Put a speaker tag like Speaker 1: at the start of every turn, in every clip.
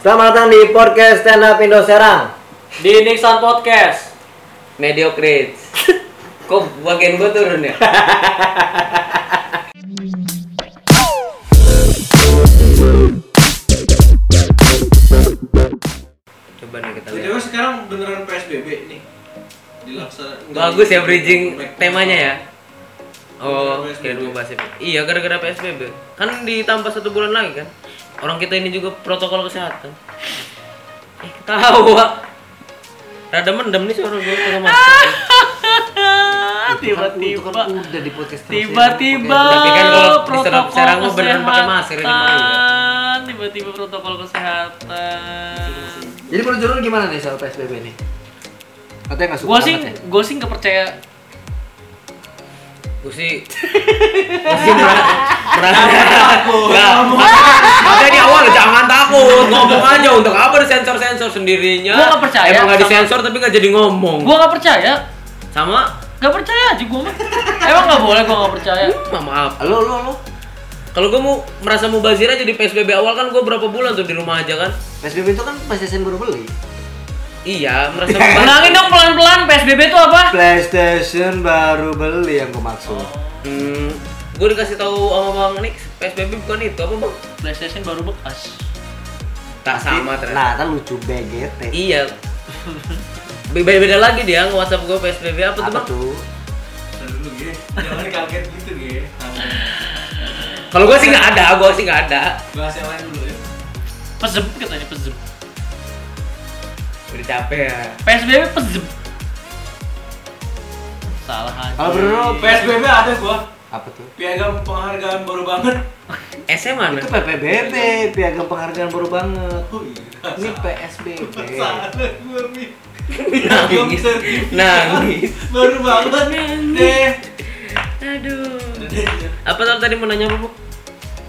Speaker 1: Selamat datang di podcast Stand Up Indo Serang.
Speaker 2: di Nixon Podcast.
Speaker 3: Mediocre. Kok bagian gue turun ya? Coba nih kita lihat.
Speaker 4: Btw sekarang beneran PSBB nih dilaksanakan.
Speaker 3: Bagus ya bridging temanya ya. Oh,
Speaker 4: Gara-gara
Speaker 3: kira
Speaker 4: PSBB.
Speaker 3: mau bahas itu. Iya, gara-gara PSBB. Kan ditambah satu bulan lagi kan. Orang kita ini juga protokol kesehatan. Eh, ketawa. Rada mendem nih suara gue kalau masuk. kan-
Speaker 2: Tiba-tiba
Speaker 1: kan- Udah di podcast ya,
Speaker 2: tiba-tiba
Speaker 3: Tapi kan kalau di
Speaker 2: protokol
Speaker 3: Serang- Serang mah beneran pakai masker ini ya. mah
Speaker 2: kesehatan. Tiba-tiba protokol kesehatan.
Speaker 1: Jadi menurut Jorun gimana nih soal PSBB ini? Katanya nggak suka
Speaker 2: Gua sih
Speaker 1: banget ya?
Speaker 2: gua sih nggak percaya.
Speaker 3: gue sih gue sih merasa merasa makanya di awal jangan takut ngomong aja untuk apa disensor sensor sendirinya
Speaker 2: Gua nggak percaya
Speaker 3: emang nggak
Speaker 2: sama-
Speaker 3: disensor tapi nggak jadi ngomong
Speaker 2: Gua nggak percaya.
Speaker 3: sama
Speaker 2: Nggak percaya aja gua mah. Emang nggak boleh gua nggak percaya.
Speaker 3: Ma, maaf
Speaker 1: Lo lo lo.
Speaker 3: kalau gue mau merasa mubazir aja di psbb awal kan gue berapa bulan tuh di rumah aja kan
Speaker 1: PSBB itu kan PlayStation baru beli.
Speaker 3: iya merasa mubazir
Speaker 2: Menangin dong pelan-pelan. PSBB itu apa?
Speaker 1: PlayStation baru beli yang gue maksud.
Speaker 3: hmm, gue dikasih tahu sama bang Nix psbb bukan itu apa bang
Speaker 2: PlayStation baru bekas.
Speaker 3: tak sama ternyata
Speaker 1: Nah, kan lucu BGT.
Speaker 3: Iya. Beda beda lagi dia nge WhatsApp gue PSBB apa tuh
Speaker 1: Apa
Speaker 3: bang?
Speaker 1: tuh?
Speaker 4: Ntar dulu Ge. Jangan kaget gitu Ge. Tahu.
Speaker 3: Kalau gue sih nggak ada, gue sih nggak ada.
Speaker 4: Bahas yang lain dulu ya.
Speaker 2: Pezeb katanya pezeb.
Speaker 3: Udah capek ya.
Speaker 2: PSBB pezeb. Salah aja.
Speaker 1: Kalau Bruno
Speaker 4: PSBB ada gua.
Speaker 1: apa tuh?
Speaker 4: Piagam penghargaan baru banget.
Speaker 3: SM mana?
Speaker 1: Itu PPBB, piagam penghargaan baru banget.
Speaker 4: Oh iya.
Speaker 1: Ini PSBB.
Speaker 4: Salah gua Mi. Piagam
Speaker 3: Nangis.
Speaker 4: sertifikat
Speaker 3: Nangis.
Speaker 4: Baru banget deh.
Speaker 3: Aduh. Apa tau tadi mau nanya apa bu?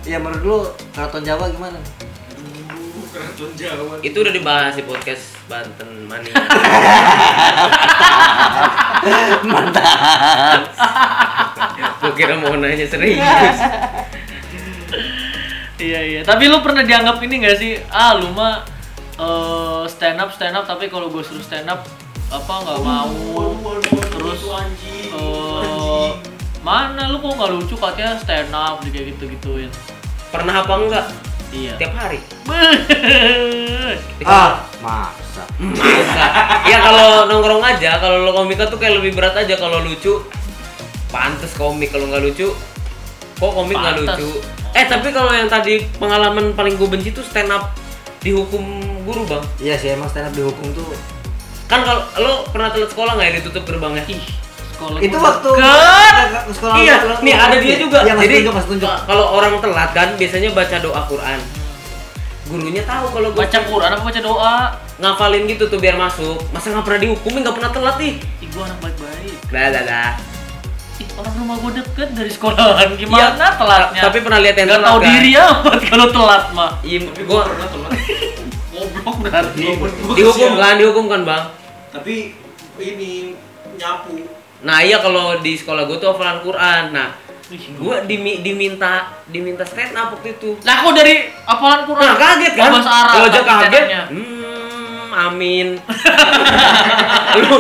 Speaker 1: Ya menurut lu keraton Jawa gimana?
Speaker 4: Aduh, Keraton Jawa.
Speaker 3: Itu udah dibahas di podcast Banten Mania. Mantap. Gue kira mau nanya serius.
Speaker 2: Iya iya. Tapi lu pernah dianggap ini gak sih? Ah lu mah eh, stand up stand up tapi kalau gue suruh stand up apa nggak mau. Terus,
Speaker 4: terus anjing.
Speaker 2: Eh, mana lu kok nggak lucu katanya stand up juga gitu gituin.
Speaker 3: Pernah apa enggak?
Speaker 2: Iya.
Speaker 3: Tiap hari.
Speaker 1: Ah, masa.
Speaker 3: Masa? ya kalau nongkrong aja, kalau lo komika tuh kayak lebih berat aja kalau lucu. Pantes komik kalau nggak lucu. Kok komik nggak
Speaker 2: Pantes.
Speaker 3: lucu? Eh tapi kalau yang tadi pengalaman paling gue benci tuh stand up dihukum guru bang.
Speaker 1: Iya sih emang stand up dihukum tuh.
Speaker 3: Kan kalau lo pernah telat sekolah nggak ya ditutup gerbangnya?
Speaker 2: Ih, sekolah
Speaker 1: Itu
Speaker 2: gua
Speaker 1: waktu
Speaker 2: deket.
Speaker 1: sekolah
Speaker 3: iya,
Speaker 1: sekolah-
Speaker 3: nih ada dia juga.
Speaker 1: Iya, mas
Speaker 3: Jadi
Speaker 1: tunjuk, mas tunjuk.
Speaker 3: kalau orang telat kan biasanya baca doa Quran. Gurunya tahu kalau gue
Speaker 2: baca Quran apa baca doa.
Speaker 3: ngafalin gitu tuh biar masuk. Masa nggak pernah dihukumin nggak pernah telat nih?
Speaker 2: Ih gua anak baik-baik.
Speaker 3: Dah dah dah.
Speaker 2: Ih, orang rumah gua deket dari sekolahan gimana
Speaker 3: Iya,
Speaker 2: telatnya?
Speaker 3: tapi pernah lihat yang
Speaker 2: Ya. nggak
Speaker 3: telat,
Speaker 2: tahu
Speaker 3: kan?
Speaker 2: diri ya. amat kalau telat mah.
Speaker 3: Iya,
Speaker 4: Tapi
Speaker 3: gua
Speaker 4: gua pernah telat.
Speaker 2: Goblok berarti.
Speaker 3: Iya.
Speaker 4: Gua- gua
Speaker 3: dihukum
Speaker 4: kesian.
Speaker 3: kan, dihukum kan bang.
Speaker 4: Tapi ini nyapu.
Speaker 3: Nah iya kalau di sekolah gue tuh hafalan Quran. Nah
Speaker 2: Ih,
Speaker 3: gue diminta diminta stand up waktu itu.
Speaker 2: Lah kok dari apalan Quran?
Speaker 3: Nah kaget kan?
Speaker 2: Bahasa Arab.
Speaker 3: Kalau aja
Speaker 2: tapi
Speaker 3: kaget,
Speaker 2: tenangnya.
Speaker 3: hmm, amin. Lu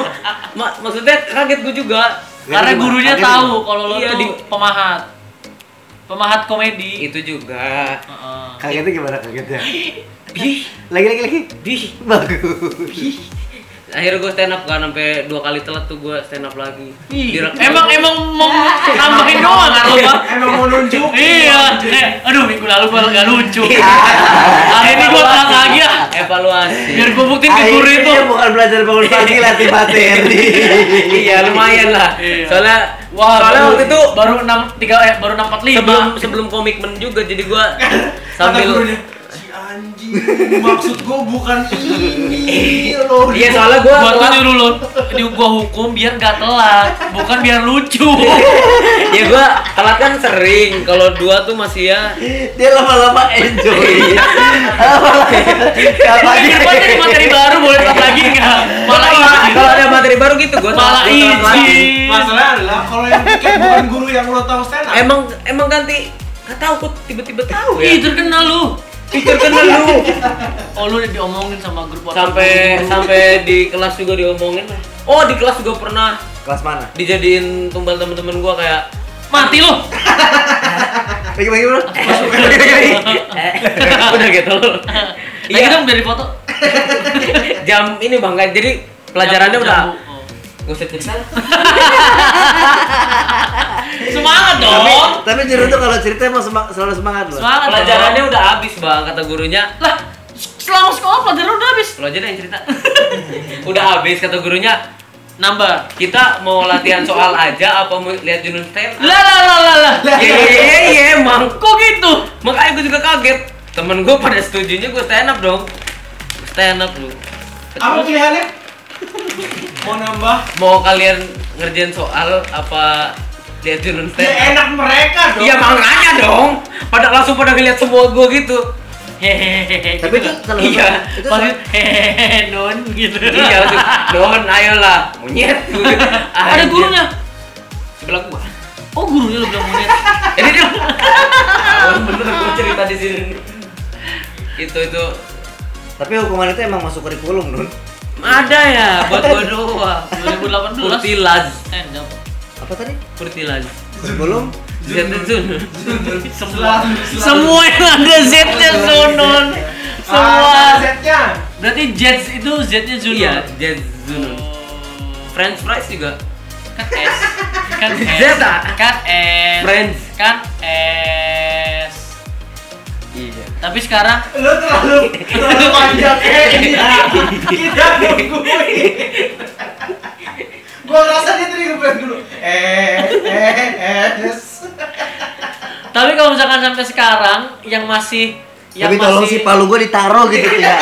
Speaker 3: mak- maksudnya kaget gue juga.
Speaker 2: Karena
Speaker 1: Jadi,
Speaker 2: gurunya
Speaker 1: kaget
Speaker 2: tahu kalau lo
Speaker 3: Iya,
Speaker 2: tuh
Speaker 3: di-
Speaker 2: pemahat. Pemahat komedi.
Speaker 3: Itu kan juga.
Speaker 2: Heeh.
Speaker 1: Kagetnya gimana kagetnya?
Speaker 3: Ih,
Speaker 1: Lagi lagi lagi.
Speaker 3: ih.
Speaker 1: Bagus.
Speaker 3: Akhirnya gue stand up kan sampai dua kali telat tuh gue stand up lagi.
Speaker 2: Ih,
Speaker 3: Direk- Iya.
Speaker 2: emang emang mau tambahin doang kan lo, Bang?
Speaker 4: Emang mau nunjuk?
Speaker 2: Iya. Eh, aduh minggu lalu gua nggak lucu.
Speaker 3: Iya.
Speaker 2: Hari ini gua telat lagi ya.
Speaker 3: evaluasi.
Speaker 2: Biar gua buktiin ke guru itu.
Speaker 1: Akhirnya bukan belajar bangun pagi latih materi.
Speaker 3: iya lumayan lah
Speaker 2: Iya.
Speaker 3: soalnya
Speaker 2: Wah,
Speaker 3: soalnya
Speaker 2: baru-
Speaker 3: waktu itu
Speaker 2: baru 6 3 eh baru 6 4
Speaker 3: sebelum sebelum komitmen juga jadi gua
Speaker 4: Sambil
Speaker 3: sambil
Speaker 4: si anjing maksud gua bukan ini loh.
Speaker 3: iya soalnya gua
Speaker 2: gua tuh
Speaker 3: telat
Speaker 2: nyuruh lo di gua hukum biar gak telat bukan biar lucu
Speaker 3: ya gua telat kan sering kalau dua tuh masih ya
Speaker 1: Dia lama-lama enjoy.
Speaker 3: Iya.
Speaker 1: Lama-lama.
Speaker 2: tapi
Speaker 1: Kapan
Speaker 2: depan jadi materi baru boleh telat lagi nggak malah
Speaker 3: Iya.
Speaker 2: izin
Speaker 3: kalau ada materi baru gitu gua telat,
Speaker 2: malah
Speaker 3: gua telat lagi.
Speaker 2: izin
Speaker 4: Masalahnya adalah kalau yang bikin bukan guru yang lo tahu stand up.
Speaker 3: emang emang ganti nggak tahu kok tiba-tiba tahu ya
Speaker 2: ih terkenal lu
Speaker 3: Pikir kena lu.
Speaker 2: Oh lu udah diomongin sama grup WhatsApp
Speaker 3: Sampai
Speaker 2: guru.
Speaker 3: sampai di kelas juga diomongin. Oh, di kelas juga pernah
Speaker 5: Kelas mana?
Speaker 3: dijadiin tumbal temen-temen gua kayak
Speaker 2: mati lu.
Speaker 5: Lagi lagi bro.
Speaker 3: udah gitu.
Speaker 2: Lagi
Speaker 3: Iya,
Speaker 2: dong biar foto.
Speaker 3: jam ini bangga. Jadi pelajarannya udah
Speaker 2: Oh.
Speaker 3: Gak usah
Speaker 2: Ah,
Speaker 3: cerita lah.
Speaker 2: Semangat dong.
Speaker 5: Tapi tapi Jero tuh kalau cerita emang semang- selalu semangat loh.
Speaker 2: Semangat.
Speaker 3: Pelajarannya udah habis bang, kata gurunya.
Speaker 2: dong. lah selama sekolah pelajaran udah habis.
Speaker 3: Lo aja deh yang cerita. udah habis kata gurunya.
Speaker 2: Nambah.
Speaker 3: Kita mau latihan soal aja apa mau lihat Junun stand?
Speaker 2: Lah lah lah lah lah.
Speaker 3: Iya iya iya emang.
Speaker 2: Kok gitu?
Speaker 3: Makanya gue juga kaget. Temen gue pada setujunya gue stand up dong. Gua Stand up lu.
Speaker 4: Apa pilihannya? Mau nambah?
Speaker 3: Mau kalian ngerjain soal apa lihat Junun
Speaker 4: Ya
Speaker 3: stand?
Speaker 4: enak mereka dong.
Speaker 3: Iya makanya dong. Pada langsung pada ngeliat semua gue gitu.
Speaker 2: Hehehe.
Speaker 5: Tapi itu
Speaker 2: gitu.
Speaker 5: salah satu.
Speaker 3: Iya,
Speaker 5: Itu
Speaker 2: Pas
Speaker 5: salah-
Speaker 2: itu, hehehe non gitu.
Speaker 3: Iya langsung. Don ayolah. Monyet.
Speaker 2: Ada
Speaker 3: Anjir.
Speaker 2: gurunya.
Speaker 3: Sebelah gua.
Speaker 2: Oh gurunya lu bilang monyet.
Speaker 3: Jadi dia Awal bener gua cerita di sini. Itu itu
Speaker 5: Tapi hukuman itu emang masuk kurikulum, Nun.
Speaker 3: ada ya buat gua doang.
Speaker 2: 2018.
Speaker 3: Kurtilaz,
Speaker 2: Stand up.
Speaker 5: Apa tadi?
Speaker 3: kurtilaz.
Speaker 5: Kurikulum?
Speaker 3: Zetsun.
Speaker 4: Selalu-
Speaker 2: Semua
Speaker 4: selalu.
Speaker 2: semua yang ada Z-nya Zunon. Semua.
Speaker 4: Ah, setnya.
Speaker 2: Berarti Jets itu Z-nya Zunon.
Speaker 3: Iya, Zetsun.
Speaker 2: Oh.
Speaker 3: French fries juga.
Speaker 2: Kan S. Kan S.
Speaker 3: Zeta.
Speaker 2: Kan S.
Speaker 3: Friends.
Speaker 2: Kan S.
Speaker 3: Iya.
Speaker 2: Tapi sekarang
Speaker 4: Lu terlalu terlalu panjang eh iya. Kita nungguin. Gua ngerasa dia tadi ngeblend dulu. Eh, eh, eh, yes.
Speaker 2: tapi kalau misalkan sampai sekarang yang masih yang
Speaker 5: Tapi tolong sih palu gua ditaruh gitu ya.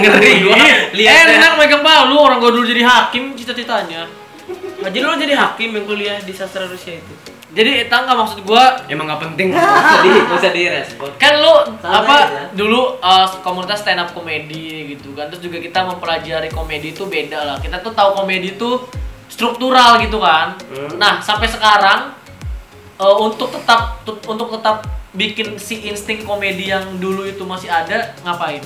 Speaker 3: Ngeri gua. Lihat
Speaker 2: Eh,
Speaker 3: ya.
Speaker 2: enak megang palu orang gua dulu jadi hakim cita-citanya.
Speaker 3: Nah, Jadi lo jadi hakim yang kuliah di sastra Rusia itu.
Speaker 2: Jadi etang nggak maksud gua
Speaker 3: Emang nggak penting. Gak usah di, gak usah direspon.
Speaker 2: kan lu
Speaker 5: Santai
Speaker 2: apa
Speaker 5: aja.
Speaker 2: dulu uh, komunitas stand up komedi gitu kan terus juga kita mempelajari komedi itu beda lah kita tuh tahu komedi itu struktural gitu kan
Speaker 3: Hmm.
Speaker 2: nah sampai sekarang uh, untuk tetap tut- untuk tetap bikin si insting komedi yang dulu itu masih ada ngapain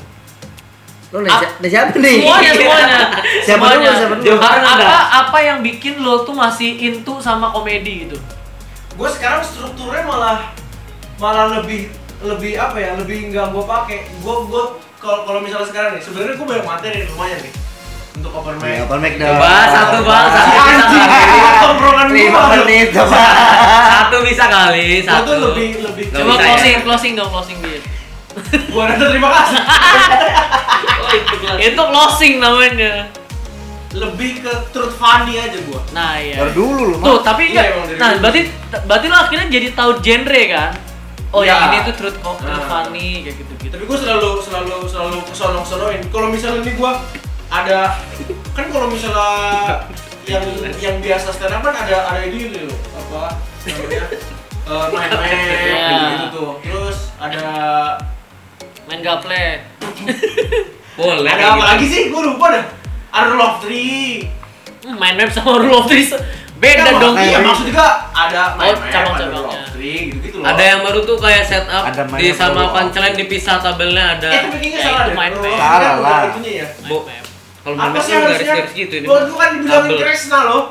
Speaker 5: Lu nih si- nih siapa nih?
Speaker 2: semuanya semuanya
Speaker 5: Siapa dulu,
Speaker 2: semuanya
Speaker 5: siapa dulu?
Speaker 3: Jawaban
Speaker 2: apa
Speaker 3: Anda.
Speaker 2: apa yang bikin lo tuh masih into sama komedi gitu
Speaker 4: Gua sekarang strukturnya malah malah lebih lebih apa ya lebih nggak gua pakai gua gua kalau kalau misalnya sekarang nih sebenarnya gua banyak materi di rumahnya nih untuk open
Speaker 5: Ya,
Speaker 4: mic
Speaker 5: open mic dong.
Speaker 3: Coba satu bang, satu bisa
Speaker 4: Anjing,
Speaker 3: kali.
Speaker 4: tongkrongan
Speaker 5: Lima
Speaker 4: gua.
Speaker 5: menit coba.
Speaker 3: Satu bisa kali,
Speaker 4: Gua
Speaker 3: satu.
Speaker 4: tuh lebih lebih
Speaker 3: Gak
Speaker 2: coba
Speaker 3: bisa ya.
Speaker 2: closing closing dong closing dia
Speaker 4: gua rasa terima kasih
Speaker 3: Oh, itu kelas.
Speaker 2: itu closing namanya
Speaker 4: lebih ke truth funny aja gua
Speaker 2: nah ya
Speaker 5: Baru dulu lu.
Speaker 2: Tuh, tapi
Speaker 4: Iya,
Speaker 2: enggak.
Speaker 4: emang dari
Speaker 2: nah,
Speaker 4: dulu.
Speaker 2: berarti berarti lo akhirnya jadi tahu genre kan? Oh,
Speaker 4: Iya.
Speaker 2: yang ini tuh truth kok, truth
Speaker 4: Nah.
Speaker 2: funny kayak gitu-gitu.
Speaker 4: Iya, tapi gua selalu selalu selalu kesonong sonoin kalau misalnya nih gua ada kan kalau misalnya yang yang biasa stand up kan ada ada itu gitu loh apa namanya eh, main-main
Speaker 2: Iya.
Speaker 4: gitu tuh terus ada
Speaker 2: Main gaple.
Speaker 3: Boleh.
Speaker 4: ada apa lagi sih gua lupa dah ada rule of three
Speaker 2: Hmm, Main web sama rule of threes beda
Speaker 4: Kan,
Speaker 2: Eh, dong.
Speaker 4: iya maksud juga ada
Speaker 2: Oh,
Speaker 4: main-main ada
Speaker 2: cabang-cabangnya.
Speaker 4: rule of three gitu gitu loh
Speaker 3: Ada yang baru tuh kayak setup
Speaker 5: Ada
Speaker 3: di
Speaker 5: mainnya
Speaker 3: sama
Speaker 5: baru.
Speaker 3: punchline dipisah tabelnya ada.
Speaker 4: eh tapi kayaknya
Speaker 2: Ya,
Speaker 4: salah
Speaker 2: itu
Speaker 4: deh
Speaker 2: main-main.
Speaker 4: Rule of three
Speaker 5: Salah
Speaker 4: kan udah
Speaker 5: lah.
Speaker 4: itunya ya
Speaker 3: Bo,
Speaker 2: Main web.
Speaker 3: kalau
Speaker 4: apa
Speaker 3: main
Speaker 4: sih
Speaker 3: tuh
Speaker 4: harusnya?
Speaker 3: garis-garis gitu ini.
Speaker 4: Gua gua kan dibilangin
Speaker 3: Tabel.
Speaker 4: Kresna loh.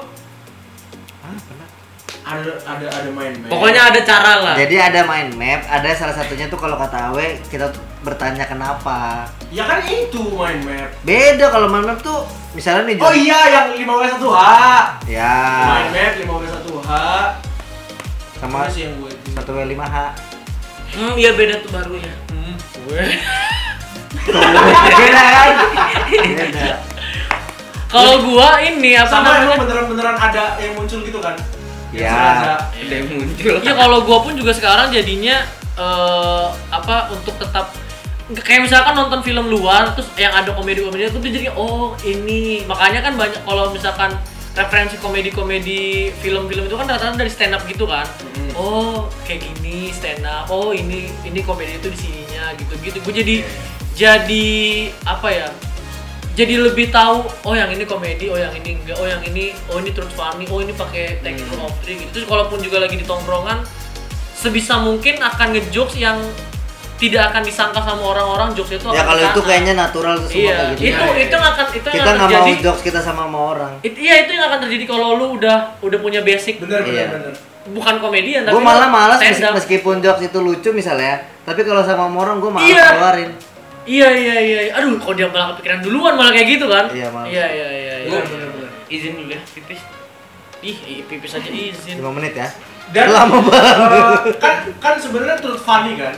Speaker 4: Ada ada ada main main.
Speaker 3: Pokoknya ada cara lah.
Speaker 5: Jadi ada main map, ada salah satunya tuh kalau kata Awe kita tuh bertanya kenapa.
Speaker 4: ya kan itu main map.
Speaker 5: Beda kalau main map tuh misalnya nih
Speaker 4: Oh iya yang 5W1H.
Speaker 5: Ya.
Speaker 4: Main map 5W1H.
Speaker 5: Sama
Speaker 4: sih yang gue itu.
Speaker 5: 1W5H.
Speaker 3: Hmm, iya beda tuh baru ya.
Speaker 2: Hmm.
Speaker 5: Tuh, Beda kan? Beda.
Speaker 2: Kalau gua ini apa
Speaker 4: Sama
Speaker 2: namanya?
Speaker 4: emang beneran-beneran ada yang muncul gitu kan. Yang
Speaker 5: Ya.
Speaker 4: sengaja.
Speaker 3: Ada yang muncul.
Speaker 2: Iya, kalau gua pun juga sekarang jadinya eh apa untuk tetap kayak misalkan nonton film luar terus yang ada komedi-komedi itu tuh jadi oh ini makanya kan banyak kalau misalkan referensi komedi-komedi film-film itu kan rata-rata dari stand up gitu kan
Speaker 5: Hmm.
Speaker 4: Mm.
Speaker 2: oh kayak gini stand up oh ini ini komedi itu di sininya gitu gitu gue jadi jadi apa ya jadi lebih tahu oh yang ini komedi oh yang ini enggak oh yang ini oh ini truth funny oh ini pakai teknik hmm. of three gitu terus kalaupun juga lagi di tongkrongan sebisa mungkin akan ngejokes yang tidak akan disangka sama orang-orang jokes itu
Speaker 5: ya
Speaker 2: akan
Speaker 5: kalau itu
Speaker 2: kesana.
Speaker 5: kayaknya natural tuh semua
Speaker 2: iya
Speaker 5: kayak gitu
Speaker 2: itu itu yang akan itu yang
Speaker 5: kita
Speaker 2: akan
Speaker 5: nggak mau
Speaker 2: terjadi
Speaker 5: jokes kita sama sama orang
Speaker 2: It- iya itu yang akan terjadi kalau lu udah udah punya basic
Speaker 4: bener bener
Speaker 5: Iya.
Speaker 4: bener
Speaker 2: bukan komedian Iya, tapi
Speaker 5: gue malah malas mes-
Speaker 2: stand up.
Speaker 5: meskipun jokes itu lucu misalnya ya. tapi kalau sama sama orang gue malas
Speaker 2: Iya.
Speaker 5: keluarin
Speaker 2: iya iya iya aduh kalau dia malah kepikiran duluan malah kayak gitu kan
Speaker 5: Iya, malas.
Speaker 2: iya iya iya, iya.
Speaker 4: Bener, bener, bener.
Speaker 2: izin dulu ya pipis ih i- pipis aja izin
Speaker 5: 5 menit ya
Speaker 4: dan
Speaker 5: lama banget
Speaker 4: eh, kan kan sebenarnya truth funny kan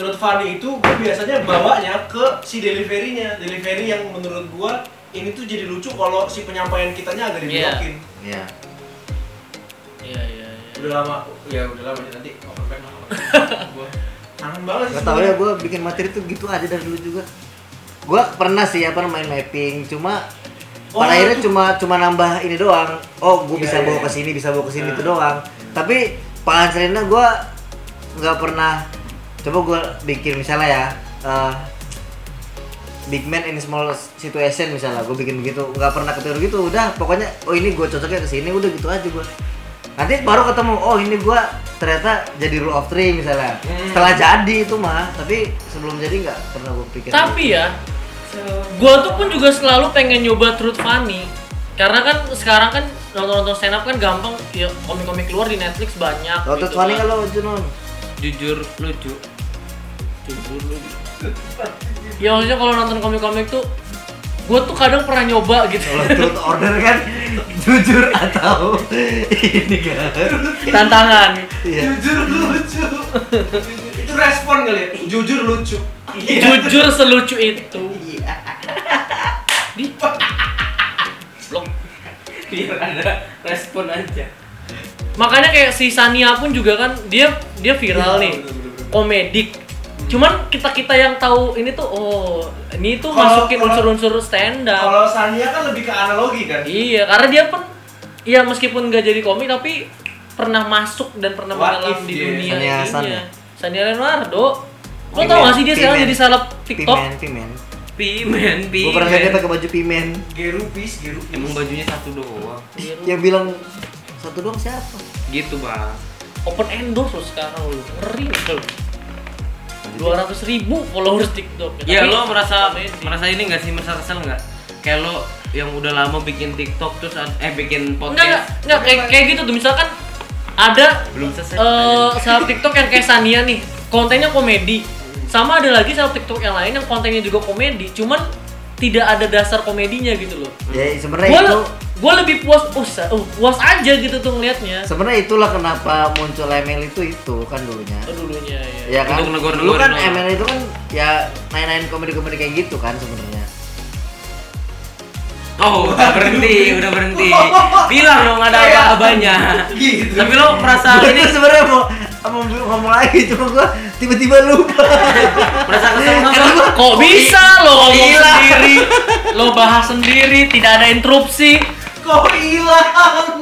Speaker 4: truth funny itu gue biasanya bawanya ke si deliverynya delivery yang menurut gue ini tuh jadi lucu kalau si penyampaian kitanya agak
Speaker 2: Iya.
Speaker 4: diblokin
Speaker 5: Iya.
Speaker 2: iya iya iya
Speaker 4: udah lama ya udah lama ya nanti open mic lah gue kangen banget sih
Speaker 5: Gak tau ya gue bikin materi tuh gitu aja dari dulu juga Gue pernah sih apa main mapping Cuma
Speaker 4: Oh,
Speaker 5: pada akhirnya
Speaker 4: itu.
Speaker 5: cuma cuma nambah ini doang Oh gue
Speaker 4: Iya,
Speaker 5: bisa
Speaker 4: iya,
Speaker 5: bawa
Speaker 4: iya.
Speaker 5: ke sini bisa bawa ke sini
Speaker 4: Nah.
Speaker 5: itu doang Tapi pakan selinnya gue nggak pernah Coba gue bikin misalnya ya eh, Big man in small situation misalnya gue bikin begitu nggak pernah ketiru gitu udah pokoknya oh ini gue cocoknya ke sini udah gitu aja gue nanti baru ketemu oh ini gue ternyata jadi rule of three misalnya
Speaker 2: Hmm.
Speaker 5: setelah jadi itu mah tapi sebelum jadi nggak pernah gue pikir
Speaker 2: tapi ya gua tuh pun juga selalu pengen nyoba truth funny karena kan sekarang kan nonton-nonton stand up kan gampang ya komik-komik luar di Netflix banyak
Speaker 5: kalau tuh
Speaker 2: gitu
Speaker 5: funny
Speaker 2: kan.
Speaker 5: kalau Junon
Speaker 3: jujur lucu jujur lucu
Speaker 2: ya maksudnya kalau nonton komik-komik tuh gue tuh kadang pernah nyoba gitu
Speaker 5: kalau truth order kan jujur atau ini kan
Speaker 2: tantangan
Speaker 5: iya
Speaker 4: jujur lucu itu respon kali ya jujur lucu
Speaker 2: jujur selucu itu
Speaker 5: Iya.
Speaker 2: di Blok.
Speaker 3: biar ada respon aja
Speaker 2: makanya kayak si Sania pun juga kan dia dia
Speaker 4: Iya,
Speaker 2: viral nih komedik cuman kita kita yang tahu ini tuh oh ini tuh
Speaker 4: Kalau-
Speaker 2: masukin
Speaker 4: kalau-
Speaker 2: unsur-unsur stand up
Speaker 4: kalau Sania kan lebih ke analogi kan
Speaker 2: Iya, karena dia pun ya meskipun nggak jadi komik tapi pernah masuk dan pernah
Speaker 4: What
Speaker 2: menyelam
Speaker 4: if
Speaker 2: di
Speaker 4: dia-
Speaker 2: dunia
Speaker 5: Sania
Speaker 2: ininya.
Speaker 5: Hasan ya?
Speaker 2: Sania Leonardo. Lo
Speaker 5: Pimen,
Speaker 2: tau gak sih dia sekarang
Speaker 5: pimen.
Speaker 2: jadi seleb TikTok?
Speaker 5: pimen pimen
Speaker 3: pimen
Speaker 5: gue
Speaker 3: pimen
Speaker 5: pernah lihat dia pakai baju pimen
Speaker 4: gerupis gerupis
Speaker 3: emang bajunya satu doang
Speaker 2: Iya.
Speaker 5: yang bilang satu doang siapa
Speaker 2: Hmm.
Speaker 3: gitu bang
Speaker 2: Open endorse lo sekarang lo. Ngeri lo. 200 ribu followers TikTok.
Speaker 3: Ya
Speaker 2: Tapi-
Speaker 3: lo merasa
Speaker 2: Komedi.
Speaker 3: merasa ini nggak sih merasa kesel nggak? Kayak lo yang udah lama bikin TikTok terus ad- eh bikin
Speaker 2: Enggak, enggak,
Speaker 3: podcast
Speaker 2: enggak kayak, kayak gitu tuh misalkan ada
Speaker 3: belum selesai.
Speaker 2: eh seleb TikTok yang kayak Sania nih, kontennya komedi. Sama ada lagi seleb TikTok yang lain yang kontennya juga komedi, cuman tidak ada dasar komedinya gitu loh.
Speaker 5: ya sebenarnya
Speaker 2: Gua
Speaker 5: itu
Speaker 2: gua lebih puas oh, sa- oh, puas aja gitu tuh ngelihatnya.
Speaker 5: sebenarnya itulah kenapa muncul ML itu itu kan dulunya
Speaker 2: Oh, dulunya
Speaker 5: ya
Speaker 2: ya.
Speaker 5: kan
Speaker 3: Untuk negor-negor
Speaker 5: dulu kan
Speaker 3: doang.
Speaker 5: ML itu kan ya main-main komedi-komedi kayak gitu kan sebenarnya
Speaker 3: oh udah berhenti udah berhenti. Bilang dong ada
Speaker 4: Kayak-
Speaker 3: apa-apanya.
Speaker 4: Gitu.
Speaker 3: Tapi lo merasa
Speaker 5: Gua
Speaker 3: Nah, ini
Speaker 5: tuh sebenarnya mau mau ngomong lagi cuma gua tiba-tiba lupa
Speaker 3: merasa kesel nggak?
Speaker 5: Karena
Speaker 3: Bang?
Speaker 5: gua-
Speaker 2: Kok bisa lo ngomong
Speaker 5: Gila.
Speaker 2: sendiri? Lo bahas sendiri, tidak ada interupsi.
Speaker 4: kok hilang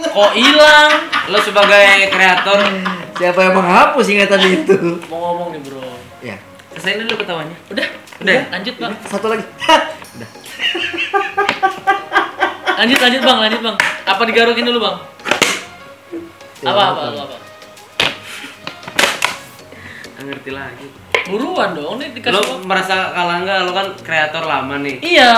Speaker 2: Kok hilang?
Speaker 3: Lo sebagai kreator
Speaker 5: siapa yang menghapus ingatan itu
Speaker 2: Mau ngomong nih, Bro.
Speaker 5: ya
Speaker 3: selesai dulu ketawanya.
Speaker 2: Udah,
Speaker 3: Udah.
Speaker 2: lanjut, Bang.
Speaker 5: satu lagi
Speaker 2: Lanjut, lanjut, Bang. Lanjut, Bang. Apa digarukin dulu, Bang?
Speaker 5: Ya,
Speaker 2: Apa apa
Speaker 5: apa.
Speaker 2: apa? apa?
Speaker 3: Nggak ngerti lagi.
Speaker 2: Buruan dong, nih dikasih
Speaker 3: Lo
Speaker 2: waktu.
Speaker 3: merasa kalah nggak? Lo kan kreator lama nih.
Speaker 2: Iya.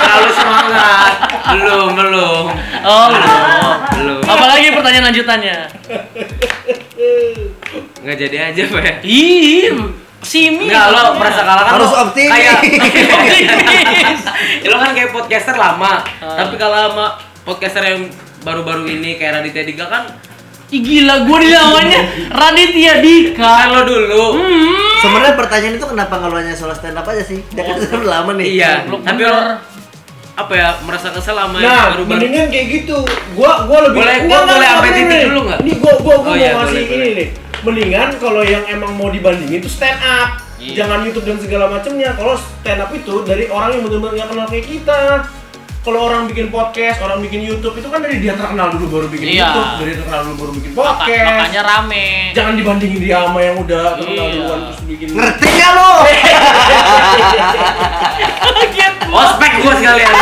Speaker 3: Terlalu semangat. Belum belum
Speaker 2: Oh, belum.
Speaker 3: belum.
Speaker 2: Apalagi pertanyaan lanjutannya.
Speaker 3: Nggak jadi aja pak ya.
Speaker 2: Ih, simi.
Speaker 3: Enggak, lo merasa kalah kan
Speaker 5: Harus
Speaker 3: lo
Speaker 5: optimis.
Speaker 3: Kayak
Speaker 2: Oh, iya.
Speaker 3: Ya, lo kan kayak podcaster lama,
Speaker 2: Ah.
Speaker 3: tapi kalau sama podcaster yang baru-baru ini kayak Raditya Dika kan
Speaker 2: Ih, gila, gue dilawannya Raditya Dika.
Speaker 3: kan lo dulu.
Speaker 5: sebenarnya pertanyaan itu kenapa nggak lu hanya solo stand up aja sih dia kan sudah lama nih
Speaker 3: Iya,
Speaker 2: Goblok
Speaker 3: tapi
Speaker 2: bener.
Speaker 3: lo apa ya merasa kesel sama yang
Speaker 4: Nah,
Speaker 3: baru-baru.
Speaker 4: mendingan kayak gitu. Gua gua lebih
Speaker 3: Boleh- gua boleh sampai titik dulu nggak?
Speaker 4: Ini gua gua, gua
Speaker 3: Oh,
Speaker 4: mau
Speaker 3: iya,
Speaker 4: ngasih
Speaker 3: boleh,
Speaker 4: ini
Speaker 3: boleh.
Speaker 4: nih. Mendingan kalau yang emang mau dibandingin itu stand up.
Speaker 3: Iya.
Speaker 4: Jangan YouTube dan segala macamnya. Kalau stand up itu dari orang yang benar-benar nggak kenal kayak kita. Kalau orang bikin podcast, orang bikin YouTube itu kan dari dia terkenal dulu baru bikin
Speaker 2: Iya.
Speaker 4: YouTube, dari terkenal dulu baru bikin
Speaker 2: Maka-
Speaker 4: podcast.
Speaker 2: makanya rame.
Speaker 4: Jangan dibandingin dia sama yang udah terkenal
Speaker 2: Iya.
Speaker 4: duluan terus bikin.
Speaker 5: ngerti nggak lu
Speaker 2: Kaget Oh, gua.
Speaker 3: Ospek gua sekalian.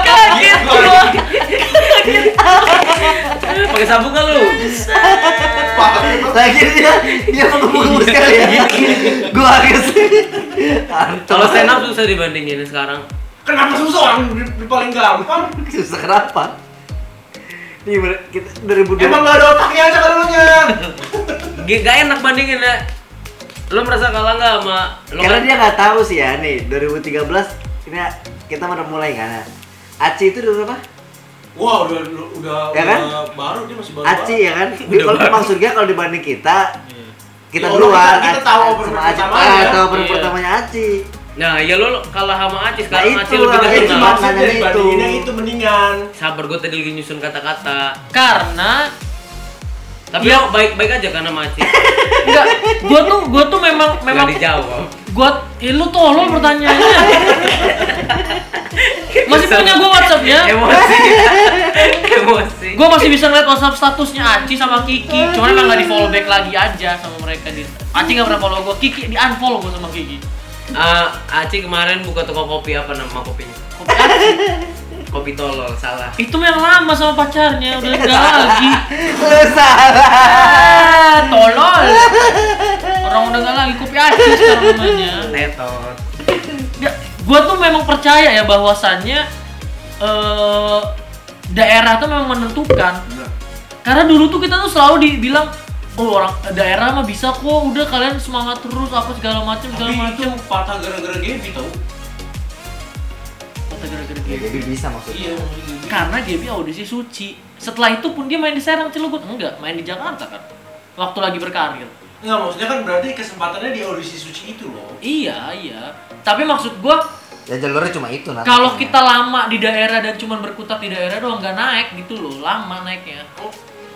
Speaker 2: Kaget gua.
Speaker 3: Pakai sabuk kan lu?
Speaker 5: lagi dia dia mau ngomong ya.
Speaker 3: Iya. Kalau stand up susah dibandingin sekarang.
Speaker 4: Kenapa susah orang di- di paling gampang?
Speaker 5: susah kenapa Nih, bener- kita 2020
Speaker 4: Emang gak ada otaknya aja dulunya.
Speaker 3: G- Gak enak bandingin ya. Lo merasa kalah nggak sama lo
Speaker 5: Karena
Speaker 3: kan-
Speaker 5: dia nggak tahu sih ya nih 2013 ini kita baru mulai kan. Aci itu dulu berapa?
Speaker 4: Wah udah udah
Speaker 5: Ya kan?
Speaker 4: udah baru dia masih baru.
Speaker 5: Aci ya kan. Dia kalau maksudnya kalau dibanding kita kita
Speaker 4: Ya,
Speaker 5: duluan
Speaker 4: orang kita- kita
Speaker 5: Aci-
Speaker 4: tahu
Speaker 5: Aci
Speaker 4: opening
Speaker 5: sama Aci
Speaker 4: pertamanya.
Speaker 5: ah, tahu opening
Speaker 3: Iya.
Speaker 5: pertamanya Aci.
Speaker 3: Nah, ya lo kalah sama Aci sekarang
Speaker 5: Nah,
Speaker 3: Aci
Speaker 5: itu
Speaker 3: lebih
Speaker 5: lah,
Speaker 4: Jadi
Speaker 5: Itu
Speaker 3: terkenal.
Speaker 5: makanya
Speaker 4: maksudnya
Speaker 5: itu.
Speaker 4: dibandingin yang itu mendingan.
Speaker 3: Sabar gue tadi lagi nyusun kata-kata.
Speaker 2: Karena
Speaker 3: Tapi
Speaker 2: Iya.
Speaker 3: lo baik-baik aja karena sama Aci.
Speaker 2: enggak, gua tuh gua tuh memang
Speaker 3: Memang
Speaker 2: memang
Speaker 3: dijawab.
Speaker 2: gua eh, lu tolol pertanyaannya. masih punya gua WhatsApp ya.
Speaker 3: Emosi. Emosi.
Speaker 2: Gua masih bisa ngeliat WhatsApp statusnya Aci sama Kiki. Cuman emang nggak di follow back lagi aja sama mereka di. Aci nggak pernah follow gua, Kiki di unfollow gua sama Kiki.
Speaker 3: Ah, Aci kemarin buka toko kopi apa nama kopinya?
Speaker 2: Kopi Aci.
Speaker 3: Kopi tolol, salah.
Speaker 2: Itu mah yang lama sama pacarnya udah enggak lagi.
Speaker 5: Lu salah.
Speaker 2: Ah, tolol. Orang udah enggak lagi kopi Aci sekarang namanya.
Speaker 3: Tetot.
Speaker 2: Ya, gua tuh memang percaya ya bahwasannya eh daerah tuh memang menentukan. Karena dulu tuh kita tuh selalu dibilang oh orang daerah mah bisa kok udah kalian semangat terus apa segala macem segala
Speaker 4: Tapi itu
Speaker 2: macem
Speaker 4: patah gara-gara Gaby tau.
Speaker 2: Kata gara-gara
Speaker 5: Ya,
Speaker 2: Gaby.
Speaker 5: Jadi bisa maksudnya.
Speaker 4: Iya. maksudnya Gaby.
Speaker 2: karena Gaby audisi suci setelah itu pun dia main di Serang Cilegon enggak main di Jakarta kan waktu lagi berkarir
Speaker 4: Enggak maksudnya kan berarti kesempatannya di audisi suci itu loh.
Speaker 2: iya iya tapi maksud gua
Speaker 5: Ya jalurnya cuma itu nah.
Speaker 2: kalau kita lama di daerah dan cuman berkutat di daerah doang nggak naik gitu loh lama naiknya
Speaker 4: Oh,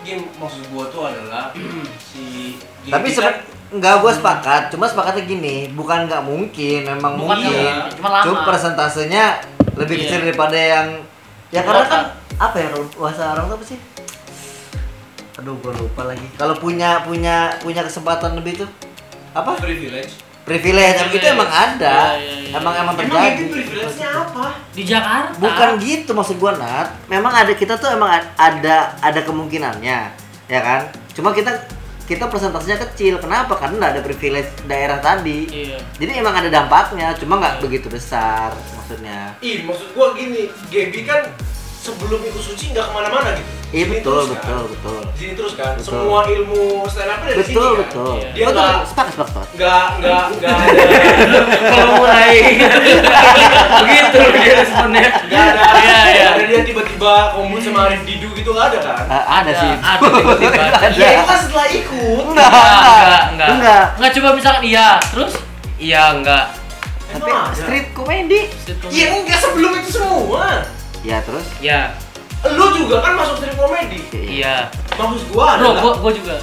Speaker 4: game maksud gua tuh adalah si Gaby
Speaker 2: Iya,
Speaker 5: tapi
Speaker 4: kan-
Speaker 5: seben- enggak gua sepakat, cuma sepakatnya gini, bukan nggak mungkin, memang
Speaker 2: Bukan
Speaker 5: mungkin.
Speaker 4: nggak
Speaker 2: mungkin, cuma lama.
Speaker 5: Cuma presentasenya lebih
Speaker 2: Iya.
Speaker 5: kecil daripada yang ya
Speaker 2: Yang
Speaker 5: karena
Speaker 2: kota.
Speaker 5: kan apa ya kalau bahasa Arab tuh apa sih? Aduh, gua lupa lagi. Kalau punya punya punya kesempatan lebih tuh apa?
Speaker 4: privilege.
Speaker 5: Privilege, tapi itu
Speaker 2: Privilege.
Speaker 5: emang ada.
Speaker 2: Iya, iya, iya.
Speaker 5: Emang emang
Speaker 4: Emang Gaby
Speaker 5: terjadi.
Speaker 4: privilege-nya apa?
Speaker 2: di Jakarta
Speaker 5: Bukan gitu maksud gua Nat. Memang ada kita tuh emang ad- ada ada kemungkinannya, ya kan? Cuma kita kita persentasenya kecil. Kenapa? Karena nggak ada privilege daerah tadi.
Speaker 2: iya
Speaker 5: Jadi emang ada dampaknya, cuma nggak begitu besar maksudnya.
Speaker 4: Ih, maksud gua gini, Gaby kan sebelum ikut suci nggak kemana-mana gitu.
Speaker 5: Iya
Speaker 4: Di sini
Speaker 5: betul,
Speaker 4: terus kan.
Speaker 5: betul, betul.
Speaker 4: Di sini terus kan,
Speaker 5: Betul.
Speaker 4: semua ilmu stand up dari sini
Speaker 5: Betul,
Speaker 4: kan.
Speaker 5: betul.
Speaker 2: Iya.
Speaker 4: Dia
Speaker 5: Betul,
Speaker 4: nggak-
Speaker 5: sepakat, sepakat. sepakat.
Speaker 4: Nggak, nggak, nggak ada,
Speaker 3: Kalau mulai begitu dia responnya.
Speaker 4: nggak ada,
Speaker 2: Iya, iya.
Speaker 4: nggak ada dia tiba-tiba komun sama Arif Didu gitu nggak ada kan?
Speaker 5: Eh, ada
Speaker 2: Ada,
Speaker 5: sih.
Speaker 3: Iya, Ada tiba-tiba.
Speaker 5: Iya.
Speaker 3: ada.
Speaker 5: Nah,
Speaker 4: Iya, itu kan setelah ikut.
Speaker 5: Enggak,
Speaker 3: Enggak, enggak.
Speaker 5: enggak.
Speaker 2: nggak coba misalkan iya terus
Speaker 3: Iya, enggak.
Speaker 5: Tapi
Speaker 4: Emang ada?
Speaker 5: street comedy.
Speaker 2: Street comedy.
Speaker 4: Iya enggak sebelum itu semua.
Speaker 5: Ya terus.
Speaker 3: Ya,
Speaker 4: Lu juga kan masuk stream komedi.
Speaker 3: iya.
Speaker 4: Maksud gua
Speaker 2: bro gua
Speaker 4: adalah
Speaker 2: gua juga